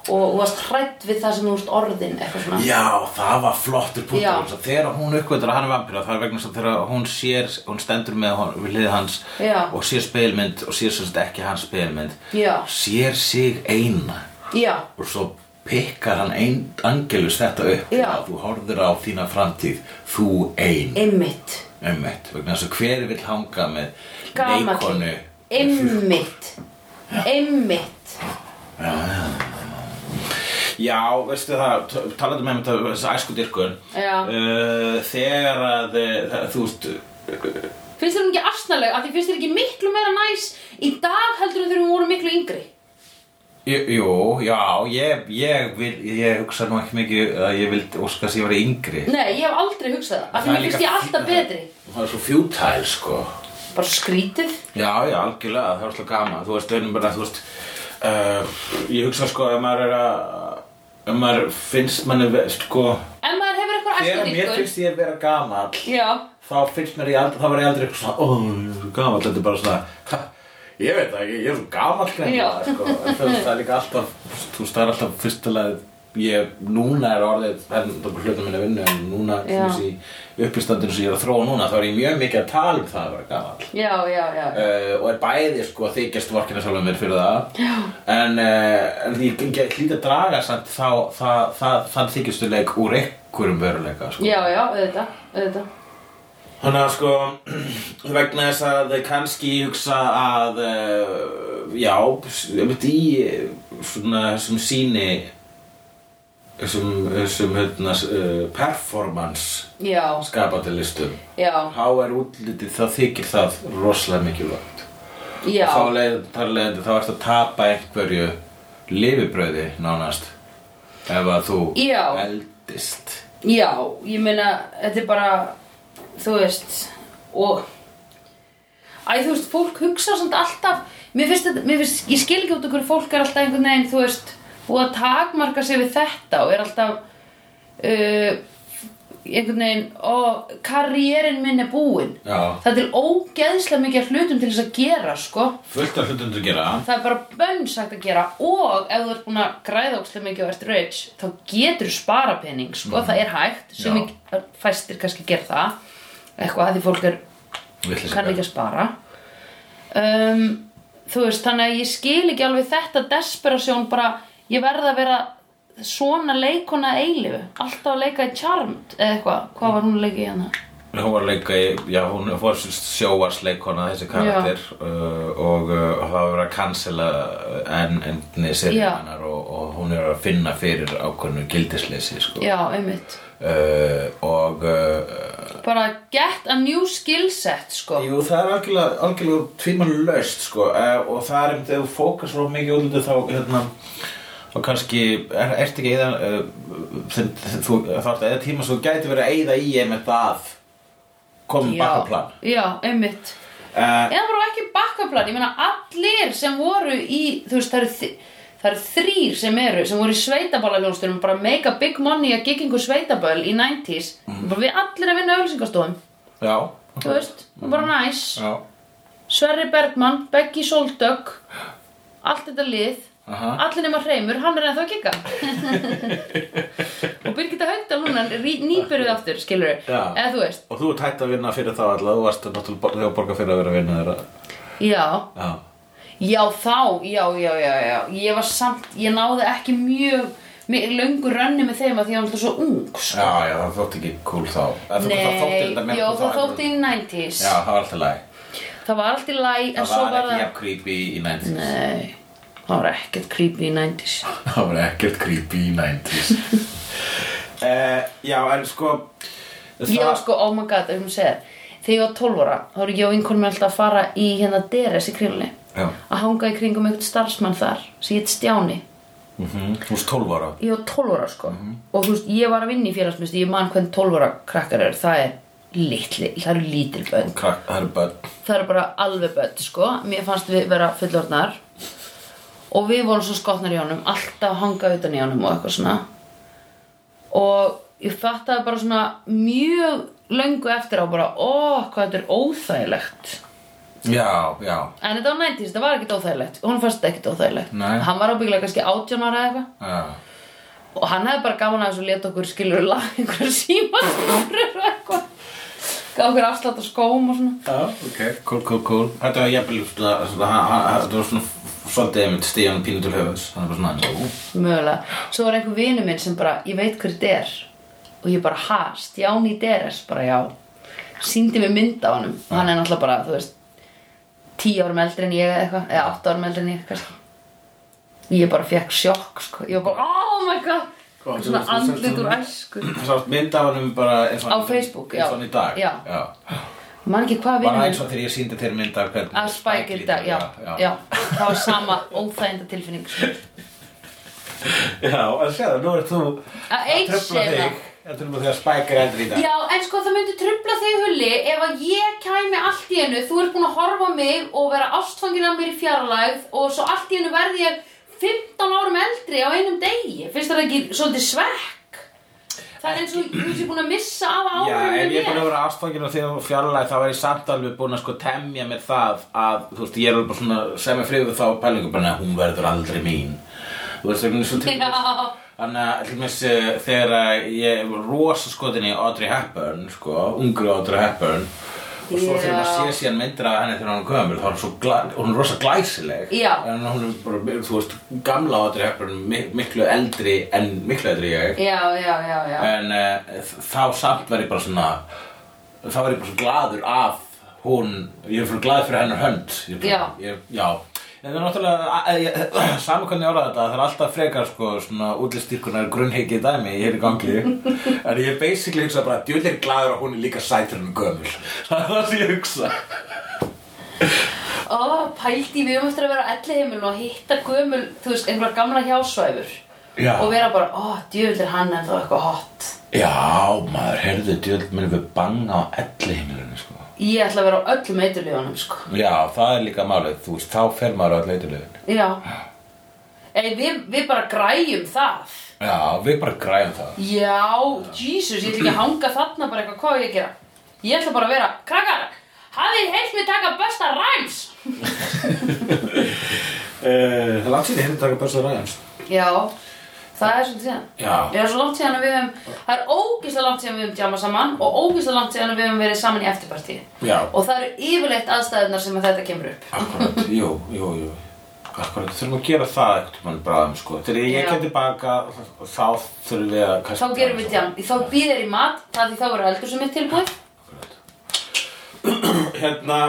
og þú varst hrætt við það sem þú varst orðin eitthvað svona Já, það var flottur Já. punktur Já. Þegar hún uppgötur að hann er vampíra Það er vegna þess að þegar hún sér Hún stendur með hon, við hlið hans Já. Og sér spilmynd og sér sem sagt ekki hans spilmynd Já. Sér sig eina já, Og svo pikkar hann ein, Angelus þetta upp Já. Þú horfir á þína framtíð Þú ein einmitt Einmitt, vegna þess að hver vill hanga með Gamall. Leikonu einmitt einmitt Já, veistu það, talaðu með mér þessi æsku dyrkun Já. uh, Þegar að uh, þú veist finnst þér hún ekki asnaleg, af því finnst þér ekki miklu meira næs í dag heldur en þegar hún voru miklu yngri Jú, Jú, já, ég, ég, vil, ég hugsa nú ekki mikið að ég vildi óska þess að ég væri yngri nei, ég hef aldrei hugsað það, af því Það er mér líka finnst ég fínt alltaf að- betri Það er svo fjútæl, sko bara skrítið Já, já, algjörlega, það var svo gaman Þú veist, einum bara, þú veist uh, Ég hugsa, sko, ef maður er að ef maður finnst manni, ve- sko En maður hefur eitthvað Þegar mér æskuðingur finnst ég vera gamall Já, þá finnst mér ég aldrei, þá var ég aldrei eitthvað svona, ó, ég er svo gamall, þetta er bara svona, ha, ég veit það ekki, ég er svo gamall greinilega, Já. sko, en þú veist, það er líka alltaf, þú veist, það er alltaf fyrstulega, ég, núna er orðið, það er bara hlutum minna vinnu, en núna, Já. sem þessi uppistandinu sem ég er að þróa núna, þá er ég mjög mikið að tala um það að vera gamall. já, já, já Uh, og er bæði sko að þykjast vorkina sjálfum mér fyrir það Já. en, uh, en ég, ég hlýta að draga samt þá, það, það, þann þykjastuleik úr einhverjum veruleika sko. Já, já, auðvitað, auðvitað Þannig að sko, vegna þess að þau kannski hugsa að, uh, já, ég veit í eh, svona sem síni, sem, sem hérna, uh, performance Já, skapatilistum, já, þá er útlitið, það þykir það rosalega mikilvægt. já Og Þá leið, þar leiðandi, þá ertu að tapa einhverju lifibrauði nánast, ef að þú Já. eldist. Já, ég meina, þetta er bara, þú veist Og Æ, þú veist, fólk hugsa samt alltaf Mér finnst þetta, mér finnst, ég skil ekki út okkur Fólk er alltaf einhvern veginn, þú veist Og að takmarka sig við þetta Og er alltaf uh, Einhvern veginn Og karriérinn minn er búinn Já. Það er til ógeðslega mikið af hlutum til þess að gera, sko Fullt af hlutum til að gera. það er bara bönnsagt að gera og ef þú ert búin að græða ókslega mikið og ert rich þá getur spara pening sko, það er hægt sem Já. ekki, fæstir kannski gera það eitthvað að því fólk er, Vitleysingar. kann ekki að spara um, þú veist, þannig að ég skil ekki alveg þetta desperasjón bara, ég verð að vera svona leikona að eilifu alltaf að leika í Charmed eða eitthvað, hvað var hún að leika í hérna? hana? Hún var leika í, já, hún var sjóarsleikona þessi karakter uh, og uh, það var verið að cancela eh, enn enni serið Já. hennar og, og hún er að finna fyrir ákveðnu gildisleysi sko. Já, einmitt uh, og uh, bara get a new skill set sko. Jú, það er algjörlega, algjörlega tvímann löst sko eh, og það er um þegar þú fókast svo mikið útlitið þá hérna og kannski er, ert ekki eða uh, sem, sem, þú þarft eða tíma svo þú gæti verið að eða í einmitt að komum bakkaplan Já, já, einmitt uh, eða bara ekki bakkaplan, ég meina allir sem voru í, þú veist, það eru, þi- það eru þrýr sem eru, sem voru í sveitaballaljónstunum, bara make a big money að giggingu sveitaböl í 90s Mhm. bara við allir að vinna auðlýsingastofum Já, þú veist, mm. Mhm. bara næs já, Sverri Bergmann, Beggi Soldögg allt þetta lið Aha. allir nema hreimur, hann er ennþá að gigga og Birgitta Haugdal hún er rí- nýbyrjuð aftur, skilur Já. eða þú veist, og þú ert hægt að vinna fyrir þá alltaf, þú varst náttúrulega bor- þegar borga fyrir að vera að vinna þeirra já Já, Já, þá, já, já, já, já, ég var samt, ég náði ekki mjög, mjög löngu rönni með þeim að því ég var alltaf svo ung, sko. já, já það þótti ekki cool þá Eða þú- það Nei, þótti þetta meira já, cool það þá. þótti í 90s. Já, það var alltaf læg Það var allt í læg, en Það svo var var ekki það... jafn creepy í 90s Nei, það var ekkert creepy í 90s. Það var ekkert creepy í 90s uh, Já, en sko Ég var sko, oh my god, ef hún segir, þegar ég var 12 ára, þá var ég og einhvern veginn alltaf að fara í hérna Deres í kringlunni. Já, Að hanga í kringum einhvern starfsmann þar, sem ég heit Stjáni. mhm, þú varst 12 ára ég var 12 ára sko og þú veist, ég var að vinna í félagsmyndstu ég man hvern 12 ára krakkar er það er litli, það eru lítil börn Krakk, það eru börn það eru bara alveg börn sko mér fannst við vera fullorðnar og við vorum svo skotnar í honum alltaf hanga utan í honum og eitthvað svona og ég fattaði bara svona mjög löngu eftir á bara, ó, hvað þetta er óþægilegt Já, já, en þetta var 90s, þetta var ekkert óþægilegt hún fannst þetta ekkert óþægilegt Nei. hann var ábyggilega kannski 18 ára eða eitthvað já og hann hefði bara gaman að þessu leta okkur skilur lag einhverja símastúrur og eitthvað gaf okkur afslátt á skóm og svona Já, ok, cool, cool, cool Þetta var jafnvel, svona- svona- hann- hann- þetta var svona svolítið einmitt stíðan pínu til höfus Hann var bara svona, ú, mögulega, svo var einhver vinur minn sem bara ég veit hver þetta er og ég bara ha, Stjáni Deres, bara já síndi mér mynd af honum og hann er náttúrulega bara, þú veist 10 árum eldri en ég eða eitthvað eða 8 árum eldri en ég, kannski ég bara fekk sjokk, sko ég var bara, oh my god Hvað, þú svona veist, þú sérst andlit úr honum? æsku Sátt mynd af honum bara eins og Á hann- Facebook, já. eins og hann í dag Já. man ekki hvað Bara vinur eins og þegar ég síndi þér mynd af hvernig að spækir lítur, þetta, já, já, já það var sama óþæginda tilfinning sko. Já, að segja það, nú er þú að að eins tröfla eða þig Þetta er bara þegar spækir endur í dag Já, en sko það myndi trubla þig hulli ef að ég kæmi allt í hennu, þú ert búin að horfa á mig og vera ástfangin af mér í fjarlægð og svo allt í hennu verði ég 15 árum eldri á einum degi, finnst það ekki svolítið svekk? Það er eins og þú sé búin að missa af Já, árum ef ég er búin að vera ástfangin á því að fjarlæg þá er ég samt alveg búin að sko temja mér það að, þú veist, ég er alveg bara svona sem er friður þá pælingu, bara neða, hún verður aldrei mín Þú veist, það er svona til Já. Þannig að til dæmis eh, þegar að ég var rosa skotin í Audrey Hepburn, sko, ungru Audrey Hepburn og svo þegar maður Já. sé síðan myndir af henni þegar hún er gömul þá er hún svo gla, hún er rosa glæsileg Já. en hún er bara, þú veist, gamla Audrey Hepburn mi- miklu eldri en miklu eldri ég Já, já, já, já. en uh, þá samt var ég bara svona þá var ég bara svo gladur af hún, ég er fyrir gladur fyrir hennar hönd ég, er bara- ég, já en það er náttúrulega, að- ég- saman hvernig ég áraða þetta það er alltaf frekar sko svona útlistýrkunar grunnheikið dæmi hér í gangi en ég er basically hugsa bara djöld er ég gladur að hún er líka sætur en gömul það er það sem ég hugsa Ó, pældi, við höfum eftir að vera á elli og hitta gömul, þú veist, einhverja gamla hjásvæfur Já. og vera bara, ó, djöfull er hann en þá eitthvað hot já maður, heyrðu djöld minnum við banga á elli heimilinu sko Ég ætla að vera á öllum eiturlífunum, sko já, það er líka málið, þú veist, þá fer maður á allir leitulegin Já Ei, við, við bara græjum það já, við bara græðum það Já, Jesus, ég ætla ekki að hanga þarna bara eitthvað, hvað á ég að gera? Ég ætla bara að vera, krakkar, hafið þið heilt mig taka besta ræms? Eh, Það er langt síðan ég hefði taka Börsa Ræðans Já, það er svolítið síðan Já. Það er svo langt síðan að við hefum, það er ógislega langt síðan við hefum djama saman og ógislega langt síðan að við hefum verið saman í eftirpartíð Já, Og það eru yfirleitt aðstæðunar sem að þetta kemur upp akkurat, jú, jú, jú Akkurat, þurfum að gera það eitthvað mann bráðum sko Þegar ég Já. kem tilbaka þá þurfum við að Þá gerum við djam, þá býðir í mat, það því þá eru eldur sem er tilbúið Hérna,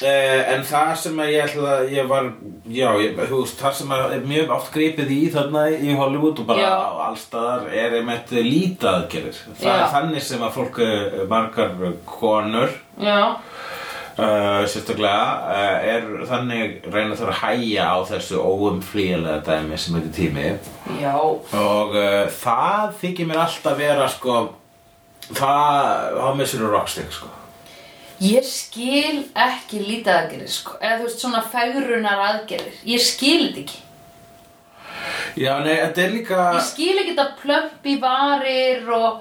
eh, en það sem að ég ætla að ég var Já, ég, þú veist, það sem að er mjög oft gripið í þarna í Hollywood og bara Já. á allstaðar er einmitt lítaðgerir Það Já. er þannig sem að fólk, eh, margar konur Já Uh, sérstaklega uh, er þannig reyna þarf að hæja á þessu óumflýjanlega dæmi sem heitir tími Já, og uh, það þykir mér alltaf vera sko það á mér sér að rockstick sko Ég skil ekki lítadaðgerðir sko, eða þú veist svona fegrunar aðgerðir, ég skil þetta ekki. já nei þetta er líka Ég skil ekki þetta plömp í varir og,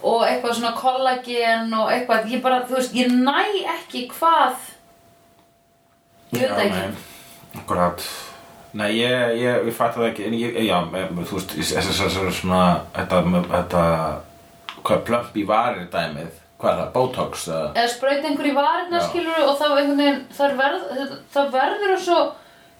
og eitthvað svona kollagen og eitthvað, ég bara, þú veist, ég næ ekki hvað, ég veit það ekki. akkurat nei ég, ég, ég fætti það ekki en ég, já em, þú veist þess að það er svona þetta, þetta hvað plömp í varir dæmið hvað er það, botox eða Eða sprauta einhver í varirna Já. skilur og þá einhvern veginn, það, verð, það, það verður og svo,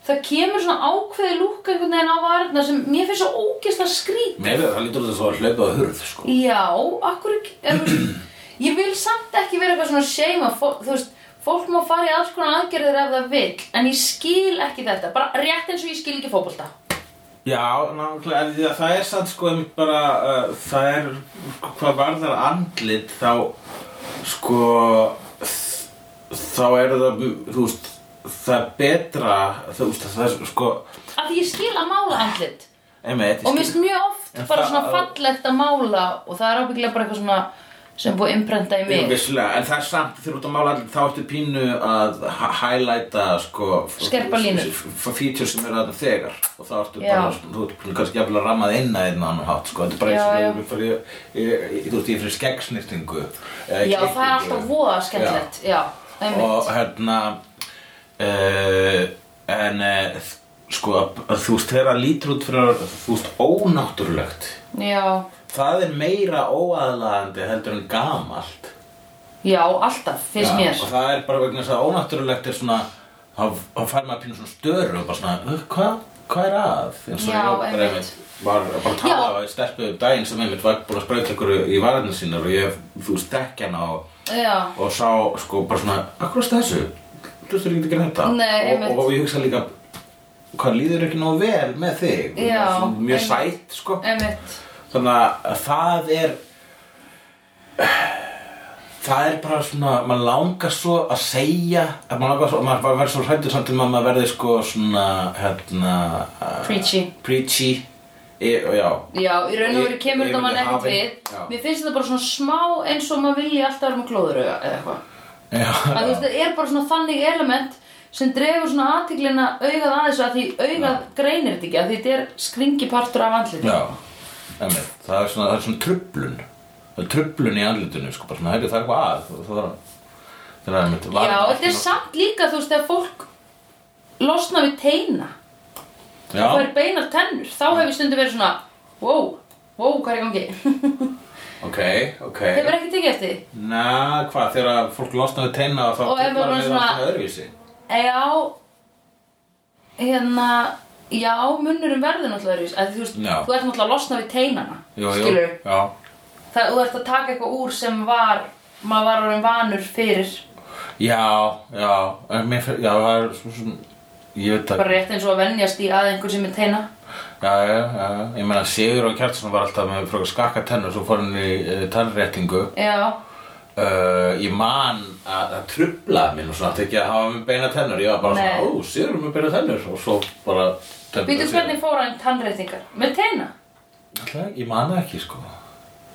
það kemur svona ákveði lúk einhvern veginn á varirna sem mér finnst svo ógeðslega skrít. Nei, það lítur út að svo að hlaupa á hurð sko Já, akkur er, þú veist, ég vil samt ekki vera eitthvað svona shame að fólk, þú veist, fólk má fara í alls konar aðgerðir ef það vill, en ég skil ekki þetta, bara rétt eins og ég skil ekki fótbolta. Já, nákvæmlega, en því að það er samt sko einmitt bara, uh, það er, hvað varðar andlit, þá, sko, þá er það, þú veist, það er betra, þú veist, það er, sko, Af því ég skil að mála andlit einmitt, og mér finnst mjög oft En bara það- svona fallegt að mála og það er ábyggilega bara eitthvað svona sem er búið að imprenta í Jú, mig vissulega, en það er samt þegar út að mála allir þá ertu pínu að ha- highlighta sko, f- Skerpa línur. f- f- feature sem eru þarna þegar og þá ertu Já. bara, þú ert pínu kannski jafnilega rammað inn að einn annan hátt sko, þetta er bara Já, já. eins og þú ert fyrir, fyrir, fyrir skeggsnýrtingu Já, það er alltaf voða skemmtilegt Já, einmitt og hérna uh, en uh, sko, að- að þú veist þegar það lítur út fyrir, þú veist, ónáttúrulegt Já, það er meira óaðlaðandi heldur en gamalt já, alltaf, finnst Já, mér og það er bara vegna þess að ónáttúrulegt er svona þá þá fær maður pínu svona störu og bara svona, "Hva- hvað hva er að? eins og Já, ég bara einmitt. einmitt var að bara tala Já. á stelpuðu daginn sem einmitt var búin að sprauta ykkur í varðinu sínar og ég, þú veist, dekki hana og, Já, og sá sko bara svona, akkur ástu þessu? Þú veist, þú getur ekki að gera þetta Nei, einmitt. og, og, og ég hugsa líka, hvað líður ekki nóg vel með þig? Já, Svona mjög einmitt. sætt, sko einmitt þannig að það er það er bara svona maður langar svo að segja að maður langar svo, maður verður svo hrættur samt um að maður verði sko svona hérna uh, Preachy. preachy e, og já Já, í raun og veru Ég- kemur ég þetta myndi mann ekkert hafi- við já. Mér finnst þetta bara svona smá eins og maður vilji alltaf vera með glóðurauga eða eitthvað að þú veist, já, það er bara svona þannig element sem dregur svona aðtiklina augað að þessu að því augað greinir þetta ekki að því þetta er skringipartur af andliti já. Emi, það er svona, það er svona tröflun það er tröflun í andlutinu sko, bara svona, heyrðu, það er eitthvað að og það er það er einmitt Já, þetta er samt líka þú veist þegar fólk losna við teina já, það er beinar tennur, þá hef ég stundum verið svona wow, wow, hvað er í gangi ok, ok hefur ekki tekið eftir því Na, hvað, þegar fólk losna við teina þá Og ef maður bara bara við svona- alltaf öðruvísi Já Hérna Já, munnurum verður náttúrulega öðruvísi, af því Þú veist, Já. þú ert náttúrulega að losna við teinana Jú, jú, Skilurðu? já Það, þú ert að taka eitthvað úr sem var maður var orðin vanur fyrir Já, já, en mér fyrir, já, það er svo sem, ég veit bara að, rétt eins og að venjast í að einhver sem er teina já, já, já, ég meina Sigur og Kjartson var alltaf með fróka skakka tennur, svo fór hann í uh, tannréttingu. Já, Uh, ég man að það trublaði mér nú svona, þetta ekki að hafa með beina tennur, ég var bara Nei. svona, ó, Sigur er með beina tennur, og svo bara, býtu hvernig fór hann í tannréttingar með teina? Ætla, ég man það ekki, sko,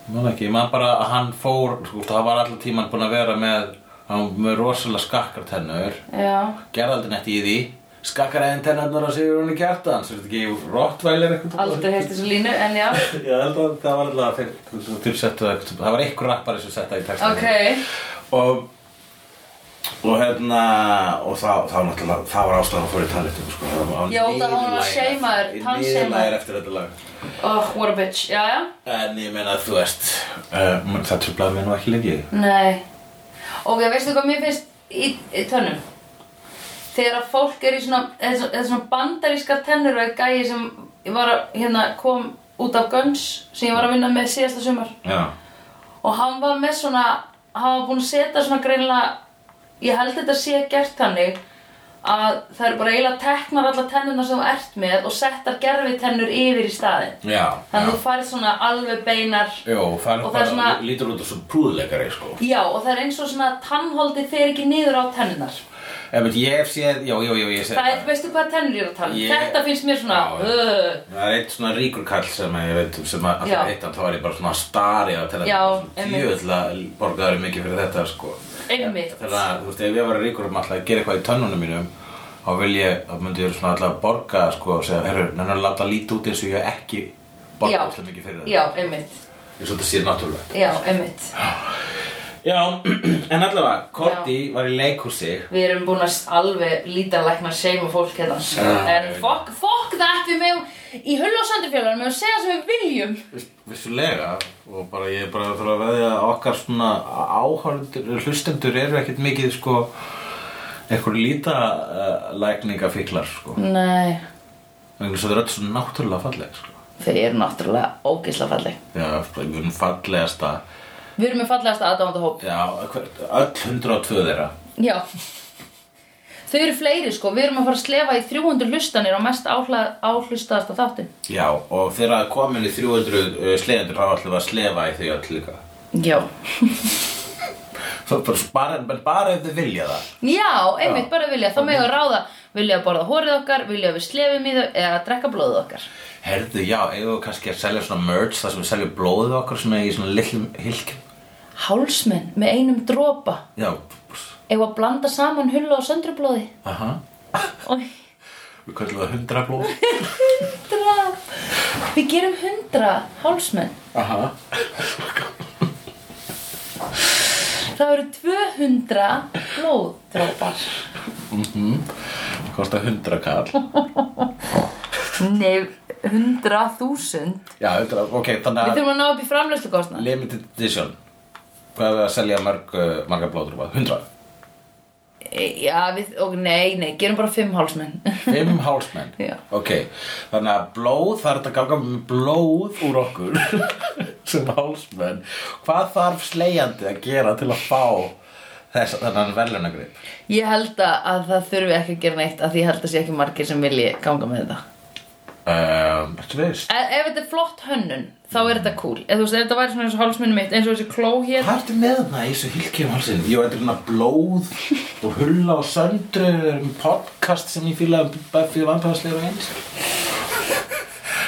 ég man það ekki, ég man bara að hann fór, sko, það var alltaf tíman búin að vera með, hann var með rosalega skakkar tennur. Já, gerðaldin eftir í því skakkaræðin tennarnar á Sigurjónu Kjartan sem þetta ekki rottvælir eitthvað aldrei heyrst þessu línu, en já Ég held að það var alltaf fyrir tilsettu eitthvað það var einhver rappari sem setta í textan Ok, og og hérna og það, það var náttúrulega það var ástæðan að fóra í tannréttum sko. það var Já, það var hún að shama þér, tannshamer. tannseimar eftir þetta lag oh, what a bitch, já, já en ég meina þú veist uh, það trublaði mér nú ekki lengi Nei Ok, veistu hvað mér finnst í, í tönnum? Þegar að fólk er í svona, eða svona- eða svona bandarískar tennur og einn gæi sem ég var að, hérna, kom út af Guns sem ég var að vinna með síðasta sumar já, og hann var með svona, hann var búinn að setja svona greinlega ég held þetta sé gert þannig að það eru bara eiginlega teknar alla tennurnar sem þú ert með og settar gerfi tennur yfir í staðinn já, þannig já. að þú færð svona alveg beinar Jó, það er Og það er bara, svona- lítur út þessu prúðleikari sko. Já, og það er eins og svona að tannholdið fer ekki niður á tennunar. Ég veit, ég hef séð, já, já, já, ég hef séð Það er, veistu hvað tennur ég er að tala um? Ég- Þetta finnst mér svona, uh, Já, já. öööö. Það er eitt svona ríkur kall sem að ég veit sem að Já. alltaf eitt hann þá var ég bara svona að stari á til Já, að einmitt. djöðla borgaður mikið fyrir þetta sko Einmitt. Þannig að þú veist ef ég var ríkur um alltaf að gera eitthvað í tönnunum mínum þá vil ég, þá myndi ég svona alltaf borga sko og segja, herru, nennan að láta líti út eins og ég hef ekki Já. borgað alltaf mikið fyrir þetta Já, einmitt. Ég svo þetta sé náttúrulega Já, einmitt. Já, en allavega, Korti var í leikhúsi Við erum búin að alveg líta lækna seima fólk hérna. En fokk, fokk það við meðum, í hull og sandurfélagur meðum segja sem við viljum. Viss- Vissulega og bara ég er bara að þurfa að veðja að okkar svona áhörður, hlustendur eru ekkert mikið sko eitthvað líta uh, lækningafíklar sko Nei, vegna svo þau eru öll svo náttúrulega falleg sko þau eru náttúrulega ógeðslega falleg. já, bara við erum fallegasta Við erum með fallegasta aðdámandahóp. já, hver, öll 102 þeirra Já. Þau eru fleiri sko, við erum að fara að slefa í 300 hlustanir á mest áhla- áhlustaðasta þáttin. já, og þeirra komin í 300 uh, slegjandur þá ætlum við að slefa í þau öll líka Já. Svo bara, bara, bara, bara ef þau vilja það Já, einmitt, bara vilja, þá megum við ráða vilja að borða hórið okkar, vilja að við slefum í þau eða að drekka blóðið okkar herðu, já, eigum við kannski að selja svona merch þar sem við seljum blóðið okkar svona í svona lillum hilkjum hálsmenn með einum dropa Já, eða að blanda saman hulla og söndrublóði aha og Við kallum það hundra blóð hundra við gerum hundra hálsmenn Aha það eru 200 blóðdrópar Kosta hundra kall nei, 100.000 Já, hundra, ok, við þannig þurfum að ná upp í framleyslukostna að Limited edition Hvað er það að selja marg, uh, marga blóðdrúpa? Hundra E, já, við, og nei, nei, gerum bara 5 hálsmenn Fimm hálsmenn Já. Ok, þannig að blóð Það er þetta að ganga með blóð úr okkur Sem hálsmenn Hvað þarf slegjandi að gera til að fá Þess, þannig verðlunagrip ég held að að það þurfi ekki að gera neitt af því ég held að sé ekki margir sem vilji ganga með þetta um, Ertu veist? ef, Eh, ef þetta er flott hönnun þá er þetta cool ef þú veist, ef þetta væri svona eins og hálsmennu mitt eins og þessi kló hér Hvað ertu með það í þessu hylkjum halsinn? Jó, þetta er hérna blóð og hulla og söndru um podcast sem ég fíla um Buffy vampæðaslegur og eins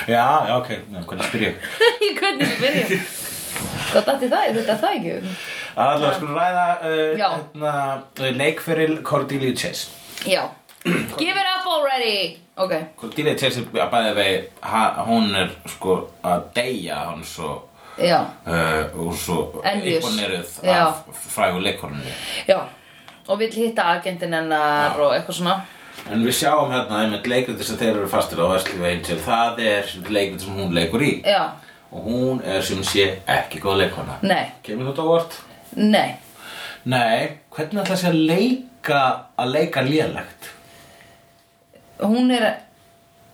Já, já, ok, já, hvernig spyr ég? í hvernig við byrja hvað dætti það, þetta það ekki Alla, skulum ræða uh, Já. hérna, uh, leikferil Cordelia Chase já, give it up already ok Cordelia Chase er að bæði vegi, ha- hún er sko að deyja hann svo Já, uh, og svo Envious. ykkoneruð Já. af frægu leikorninu já Og vill hitta agentinn hennar og eitthvað svona En við sjáum hérna einmitt leikriti sem þeir eru fastir á Vestlíf Angel Það er leikriti sem hún leikur í Já, Og hún er sem sé ekki góð leikona nei, Kemur þetta á óvart? nei Nei, hvernig ætla sé að leika að leika lélegt? Hún er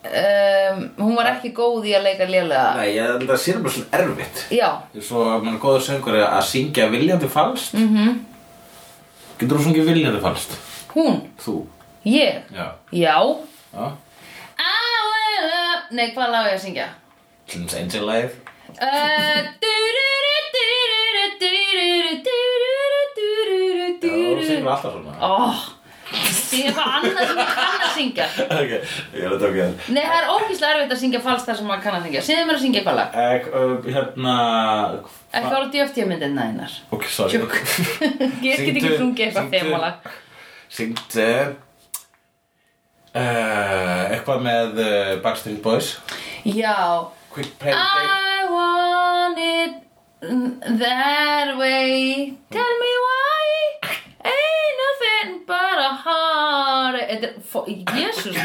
um, Hún var ekki góð í að leika lélega Nei, ég held að það sé bara svona erfitt Já, Svo mann góður söngur er að syngja viljandi falskt mm -hmm. Getur þú sungið viljandi falskt? hún, Þú? ég Já, Já já I will love- Nei, hvað lag er að syngja? Slims Angel-læð Uh, du-du-du, du-du-du, du-du-du, du-du-du, du-du-du, Já, þú du-du-du. syngur alltaf svona Ó, syngja eitthvað annað sem ég kann að syngja Ok, ég er að hérna. tóka þér Nei, það er ógeðslega erfitt að syngja falskt þar sem maður kann að syngja Segðu mér að syngja eitthvað lag Ek, uh, hérna Ekki ára DFT myndina þínar Ok, sorry Tjók Ég get ekki Syngdu- sungið eitthvað syngdu- þemalag Syngdu uh, Eitthvað með uh, Backstreet Boys Já Quick Play Ah, Date I want it that way Tell me why Ain't nothing but a heart Þetta er fó- Jesús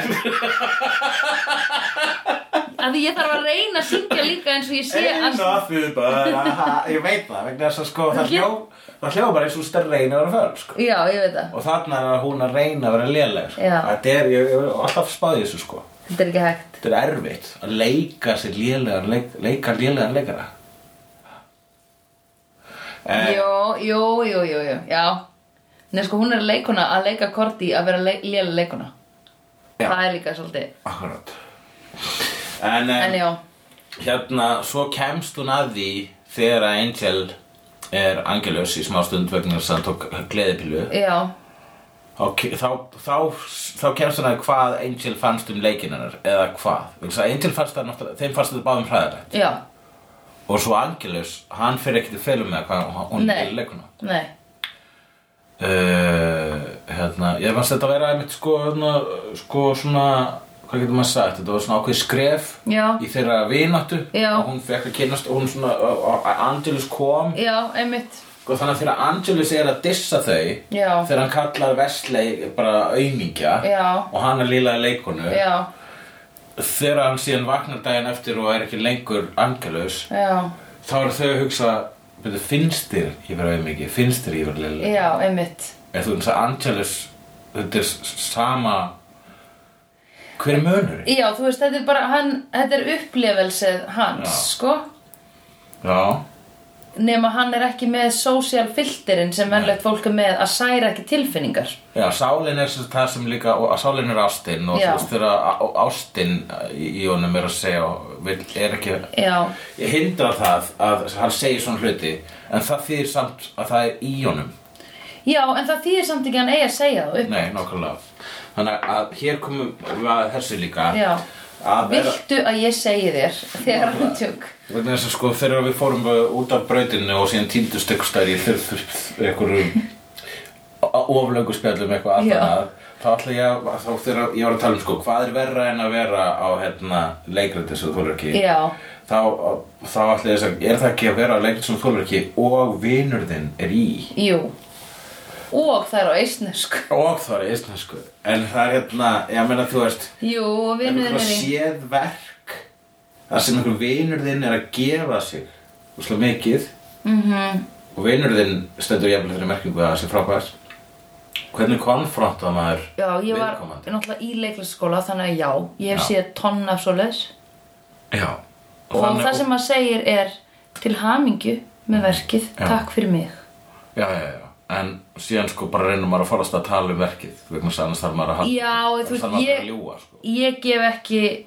Af því ég þarf að reyna að syngja líka eins og ég sé að Ain't nothing but a heart- Ég veit það, vegna þess að sko það Þú hljó hljóð- Það hljóð bara eins og stærri reyna að vera föl sko. Já, ég veit það Og þarna er hún að reyna að vera léleg sko. Já. Þetta er, ég ég hef alltaf spáði þessu sko Þetta er ekki hægt Þetta er erfitt að leika sér lélegan leik, Leika lélegan leikara Eh, Jó, jó, jó, jó, jó Já Nei, sko, hún er leikuna að leika korti að vera le lélega leikuna Já. Það er líka svolítið Akkurat En, eh, En já, Hérna, svo kemst hún að því þegar að Angel er angelus í smá stund vegna þess að hann tók gleðipillu já, okay, þá, þá, þá kemst hún að hvað Angel fannst um leikinn hennar eða hvað, Vegna þess að Angel fannst það náttúrulega þeim fannst þetta báðum hræðilegt já, og svo Angelus, hann fyrir ekkert í felum með hvað hún- hún Nei. er leikuna nei, uh, hérna, ég fannst þetta að vera einmitt sko, hérna, sko svona hvað getur maður sagt, þetta var svona ákveð skref Já. í þeirra vináttu Já. og hún fekk að kynast og hún svona, og- og Angelus kom já, einmitt, og þannig að þegar Angelus er að dissa þau Já. þegar hann kallar Vesley bara aumingja Já. og hann er lílaði leikonu já, þegar hann síðan vaknar daginn eftir og er ekki lengur Angelus já, þá eru þau að hugsa "Bíddu, finnst þér ég vera aumingi, finnst þér ég vera lillaði já, einmitt. En þú veist að Angelus, þetta er s- sama, hver er munurinn? Já, þú veist, þetta er bara, hann, þetta er upplifelsið hans, Já. sko, Já, nema hann er ekki með social filterin sem vennlegt fólk er með að særa ekki tilfinningar. já, sálin er sem sagt það sem líka, og að sálin er ástinn og Já. þú veist þegar að- á- ástinn í í honum er að segja, og vill, er ekki, Já, ég hindra það að hann segir svona hluti, en það þýðir samt að það er í honum. já, en það þýðir samt ekki að hann eigi að segja það upp. Nei, nokkulega. Þannig að hér komum við að þessu líka. Já. að vera Viltu að ég segi þér þegar hann tjók vegna þess að sko þegar við fórum uh, út af brautinu og síðan týndust ykkur stær í þurftur einhverjum oflöngu spjallum eitthvað allt Já. annað þá ætla ég að þá þegar ég var að tala um sko hvað er verra en að vera á hérna leikrætti sem þú þolir ekki Já. þá, þá ætla ég að segja er það ekki að vera á leikrætti sem þú þolir ekki og vinur þinn er í Jú Og það er á eistnesk og það er íslensku en það er hérna, ég meina þú veist Jú, og vinnur er einhverja í séð verk þar sem einhver vinur þinn er að gefa sig úslega mikið Mhm. -hmm. og vinur þinn stendur jafnilega þeirri merkingu að það sé frábært hvernig konfronta maður Já, ég var viðkomandi? náttúrulega í leiklisskóla þannig að já, ég hef Já. séð tonna af svoleiðis já og það Mm. sem maður segir er til hamingju með verkið, Já. takk fyrir mig já, já, já en síðan sko bara reynum maður að farast að tala um verkið vegna þess að annars þarf maður að halda Já, þú þarf veist, maður ég- að ljúga sko ég gef ekki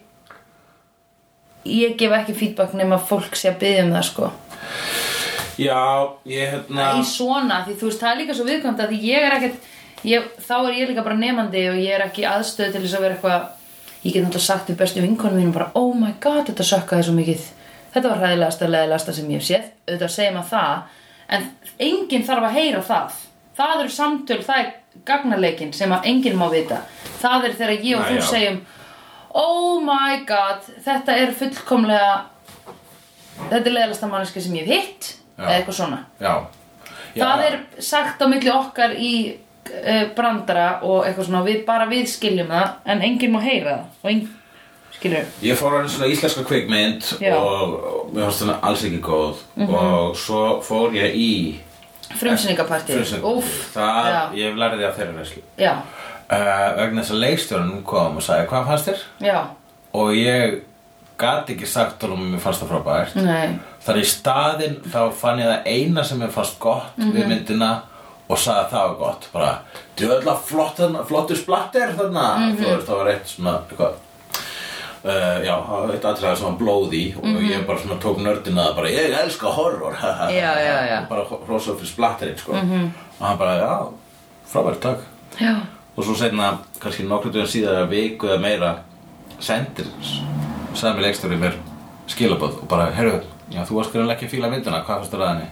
ég gef ekki feedback nema fólk sé að byggja um það sko já, ég hérna í svona, því þú veist, það er líka svo viðkvæmt að því ég er ekkert ég, þá er ég líka bara nefandi og ég er ekki aðstöð til þess að vera eitthvað ég get náttúrulega sagt við bestu vinkonum mínum bara oh my god, þetta sökkaði svo mikið þetta var hræðilegasta, leðilegasta sem ég hef séð auðvitað segir maður það en enginn þarf að heyra það það eru samtöl, það er gagnarleikin sem að enginn má vita það er þegar ég og Nei, þú já. segjum oh my god, þetta er fullkomlega þetta er leðilegasta manneska sem ég hef hitt Já. eða eitthvað svona já, já það er sagt á milli okkar í uh, brandara og eitthvað svona við, bara við skiljum það en enginn má heyra það og enginn skiljum Ég fór á einu svona íslenska kvikmynd Já. Mhm. og, og mér fannst hana alls ekki góð og svo fór ég í frumsýningapartið Frumsýningu. Úff, Eh, Það, já, ég lærði af þeirra reyslu já, uh, Vegna þess að leikstjórnum kom og sagði hvað fannst þér? já, Og ég gat ekki sagt honum að mér fannst það frábært nei Þar í staðinn þá fann ég það eina sem mér fannst gott Mhm. við myndina og sagði að það var gott bara, djöðla flott þarna, flottur splatter þarna Mhm. þú veist, það var eitt svona eitthvað Uh, já, það var eitt aðtræða sem var blóð í og ég bara svona tók nördina að bara ég elska horror Mhm. Já, já, já. Mhm. og bara hrósaði fyrir splatterinn sko. og hann bara, já, frábært takk já, og svo setna, kannski nokkru dögum síðar viku eða meira sendir sami leikstjóri mér skilabóð og bara, herru, já, þú varst greinlega ekki að fíla myndina, hvað fannst þér að henni?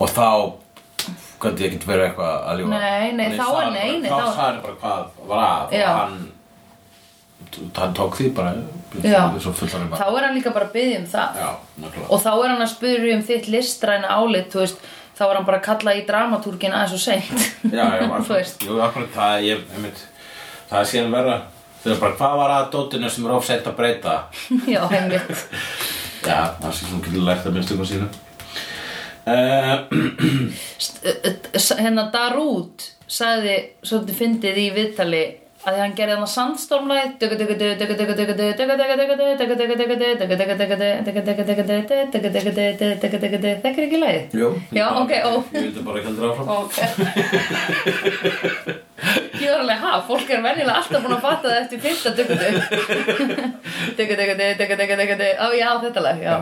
og þá gæti ég ekki verið eitthvað að ljúga Nei, nei, Þannig þá sagði er- nei, bara- nei, þá þá- sagði hann bara hvað var að Já. og hann hann tók því bara já svo fullar um þá er hann líka bara að byggja um það já, nákvæmlega og þá er hann að spyrja um þitt listræna álit þú veist, þá er hann bara að kalla í dramatúrgin aðeins og seint já, já, þú veist akkurat, jú, akkurat það, ég, einmitt, það er síðan verra þegar bara, hvað var að dótinu sem er ofsett að breyta já, einmitt Já, það sé svona getur lært að minnstu hvað sína uh, St- uh, uh, hérna Darút sagði svolítið fyndið í viðtali að því hann gerði hann að sandstormlæð þekkir ekki læð? Jó Já, ok, ó Ég vildi bara ekki heldur áfram ok ég var alveg, ha, fólk er venjulega alltaf búin að fatta það eftir fyrsta dugdu dugdu, dugdu, dugdu, dugdu, dugdu á, já, þetta lag, já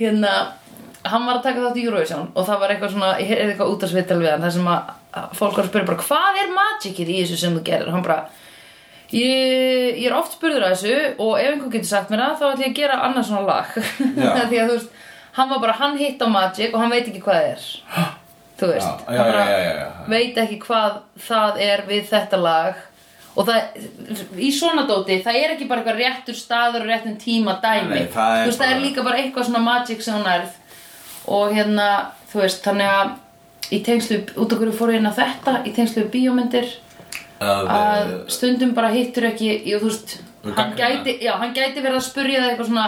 hérna, hann var að taka þátt í Eurovision og það var eitthvað svona, ég heyrði eitthvað út að svittal við hann þar sem að að fólk var að spyrja bara hvað er magicið í þessu sem þú gerir og hann bara, ég, ég er oft spurður að þessu og ef einhver getur sagt mér það þá ætlum ég að gera annars svona lag Já. því að þú veist, hann var bara, hann hitt á magic og hann veit ekki hvað það er þú veist, Já, já, hann bara já, já, já, já. veit ekki hvað það er við þetta lag og það, í svona dóti það er ekki bara eitthvað réttur staður og réttum tíma dæmi, Nei, það er þú veist, það bara- er líka bara eitthvað svona magic sem hún erð og hérna, þú veist, þannig að í tengslu, út okkur fór ég inn að þetta í tengslu við bíómyndir Að, að eh, stundum bara hittur ekki jú, þú veist, Við hann gagnrýna. gæti, já, hann gæti verið að spurja það eitthvað svona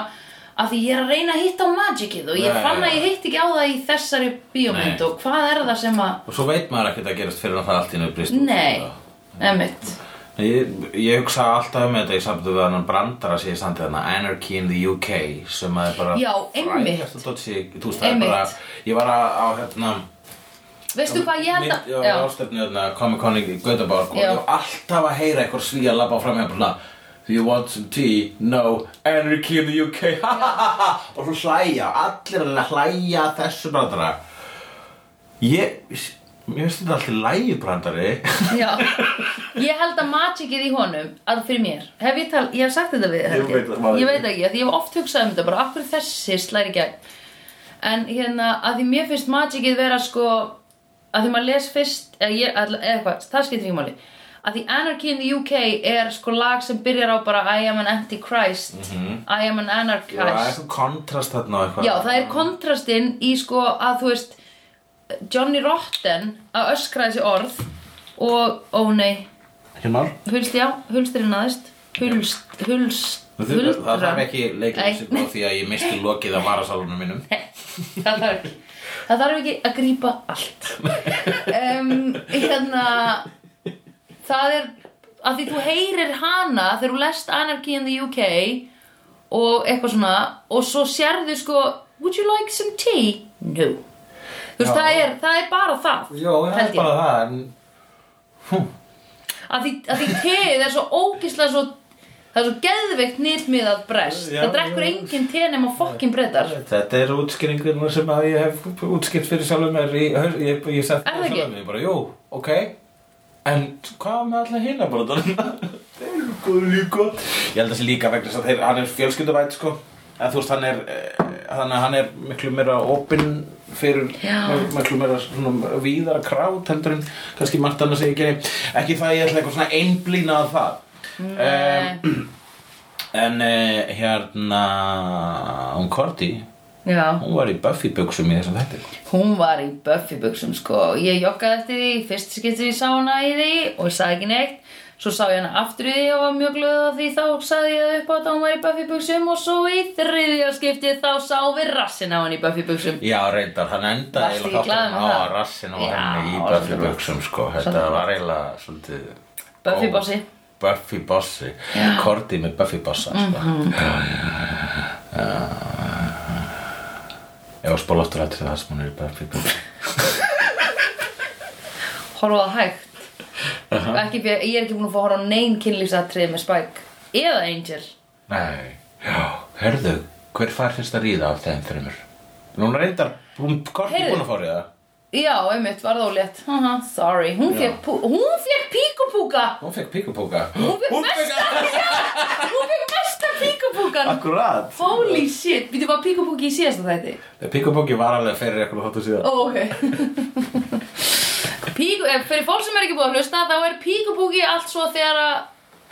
að því ég er að reyna að hitta á magicið og ég Nei, fann já. að ég hitt ekki á það í þessari bíómynd Nei. og hvað er það sem að Og eh, svo veit maður ekkert að gerast fyrir að það allt í nöðu brist út, nei, sko. emmitt Ég, ég hugsa alltaf um þetta í samtum við hann brandara sem ég standi þarna Anarchy in the UK sem að er bara Já, einmitt. frægasta dótsi- Þú veist, það er Einmitt. bara Ég var að, á hérna veistu hvað ég held Mitt- að Já, já, ástefni þarna Comic Con í Göteborg og Já. ég var alltaf að heyra eitthvað svíja labba fram hjá bara svona, Do you want some tea? No, anarchy in the UK og svo hlæja allir að hlæja að þessu brandara Ég, Mér finnst þetta alltaf lægi brandari Já, ég held að magicið í honum að fyrir mér, hef ég tal, ég hef sagt þetta við þér, Ég held veit það, maður- ég veit það ekki, af því ég hef oft hugsað um þetta bara, af hverju þessi slæri gegn en hérna, að því mér finnst magicið vera sko, að því maður les fyrst, eða ég, eða eitthvað það skiptir ekki máli, að því Anarchy in the UK er sko lag sem byrjar á bara I am an antichrist Mhm. I am an Já, það er anarchist svo kontrast þarna og eitthvað Já, það er kontrastinn í sko að þú veist Johnny Rotten að öskra þessi orð og, ó nei, Ekki mál hulst já, hulsturinn aðeist Hulst, hulst, Það þurfa- það þarf ekki Nei, leikljósið á nei, því að ég misti lokið á varasalunum mínum Það þarf ekki Það þarf ekki að grípa allt um, Hérna Það er að því þú heyrir hana þegar þú lest Anarchy in the UK og eitthvað svona og svo sérðu sko Would you like some tea? No Þú veist, Já. það er, það er bara það Jó, það held er ég. bara það en... að því, að því teið er svo ógislega svo það er svo geðveikt nýtmiðað brest Já, það drekkur já. enginn teið nema fokkin breytar Þetta er útskýringurna sem að ég hef útskýrt fyrir sjálfum mér í, ég, ég, ég sagt Er það ekki? sjálfum mér bara, jú, ok En hvað með alla hina bara Það er góður líka Ég held að sé líka vegna þess að þeir, hann er fjölskylduvætt sko En þú veist, hann er, eh, þannig að hann er miklu meira opinn fyrir Já. miklu meira svona víðara krát heldur en kannski margt annars að ég geri ekki það að ég ætla eitthvað svona einblína að Mm. það um, En uh, hérna, hún Korti, já, hún var í Buffy buksum í þessum þætti. hún var í Buffy buksum sko, ég joggaði eftir því fyrst skiptir ég sá hana í því og ég sagði ekki neitt svo sá ég hana aftur í því og var mjög glöð af því þá sagði ég upp á þetta að hún var í Buffy buksum og svo í þriðja skipti þá sá við rassin á hann í Buffy buksum Já, reyndar, hann endaði Varstu ekki glaður með á það? að rassin og Já, henni í var Buffy svolítið. buksum, sko. Þetta Svolítið. var eiginlega svolítið... Buffy ó, bossi. Buffy bossi. Korti með Buffy bossa, Mhm. sko. Mm -hmm. Já, spóla aftur að til það sem hún er í Buffy buksum. horfa á hægt ekki, ég er ekki búin að fá að horfa á neyn kynlífsatrið með Spike eða Angel Nei, já, herðu, hver fær fyrst að ríða af þeim þreymur? Núna reyndar, hún Korti Heyrðu. búin að fá ríða. Já, einmitt, var það ólétt Haha, Sorry, hún fekk, pú- hún fekk píkupúka Hún fekk píkupúka Hún fekk mesta Hún fekk mesta píkupúkan Akkurat Holy shit, býttu bara píkupúki í síðasta þætti Píkupúki var alveg fyrir eitthvað þáttu síðan Ó, ok Píku, eh, Fyrir fólk sem er ekki búið að hlusta þá er píkupúki allt svo þegar að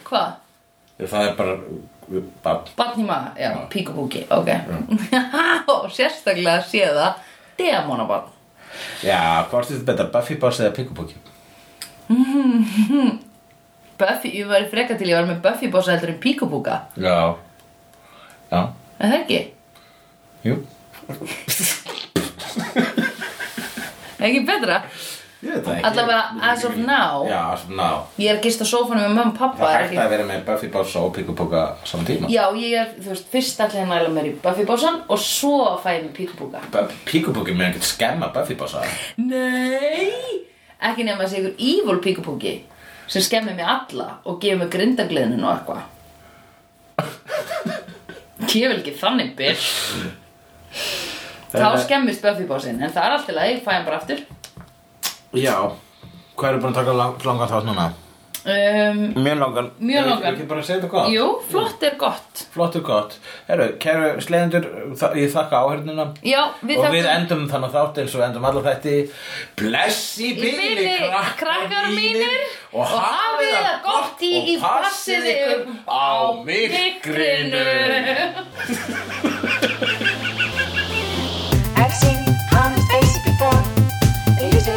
Hvað? Það er bara bad. Batn í maða, já, píkupúki, ok Og sérstaklega sé það Demonabann Já, hvað er þetta betra, Buffy Boss eða Píkupúki? Buffy, ég var freka til ég var með Buffy bossa heldur en píkupúka Já Já, Er það ekki? jú Er ekki betra? Ég veit það ekki Allavega, as of now Já, as of now Ég er gist á sófanum með mamma og pappa Það er er hægt að ekki... vera með Buffy Boss og Píkupúka saman tíma Já, ég er, þú veist, fyrst allir henni æla mér í Buffy bósan og svo fæ ég mér píkubúka Bu- Píkupúki með ekkert skemma Buffy Bossa Nei! Ekki nema þessi ykkur evil píkubúki sem skemmir mig alla og gefur mig grindagliðnin og eitthvað Ég vil ekki þannig, bitch Þá skemmist Buffy bósin en það er allt í lagi, fæ ég hann bara aftur Já Hvað eru búin að taka lang, langan þátt núna? um, Mjög langan Mjög langan. Er ekki bara að segja þetta gott? Jú, flott er gott Flott og gott Herru, kæru sleðendur, þa- ég þakka áhörnina Já, við og þökkum- við endum þannig þátt eins og endum allar þetta bless í bíli, bili, krakkar mínir, og hafið það gott í- í og passið passið ykkur á mikrinu I've seen honest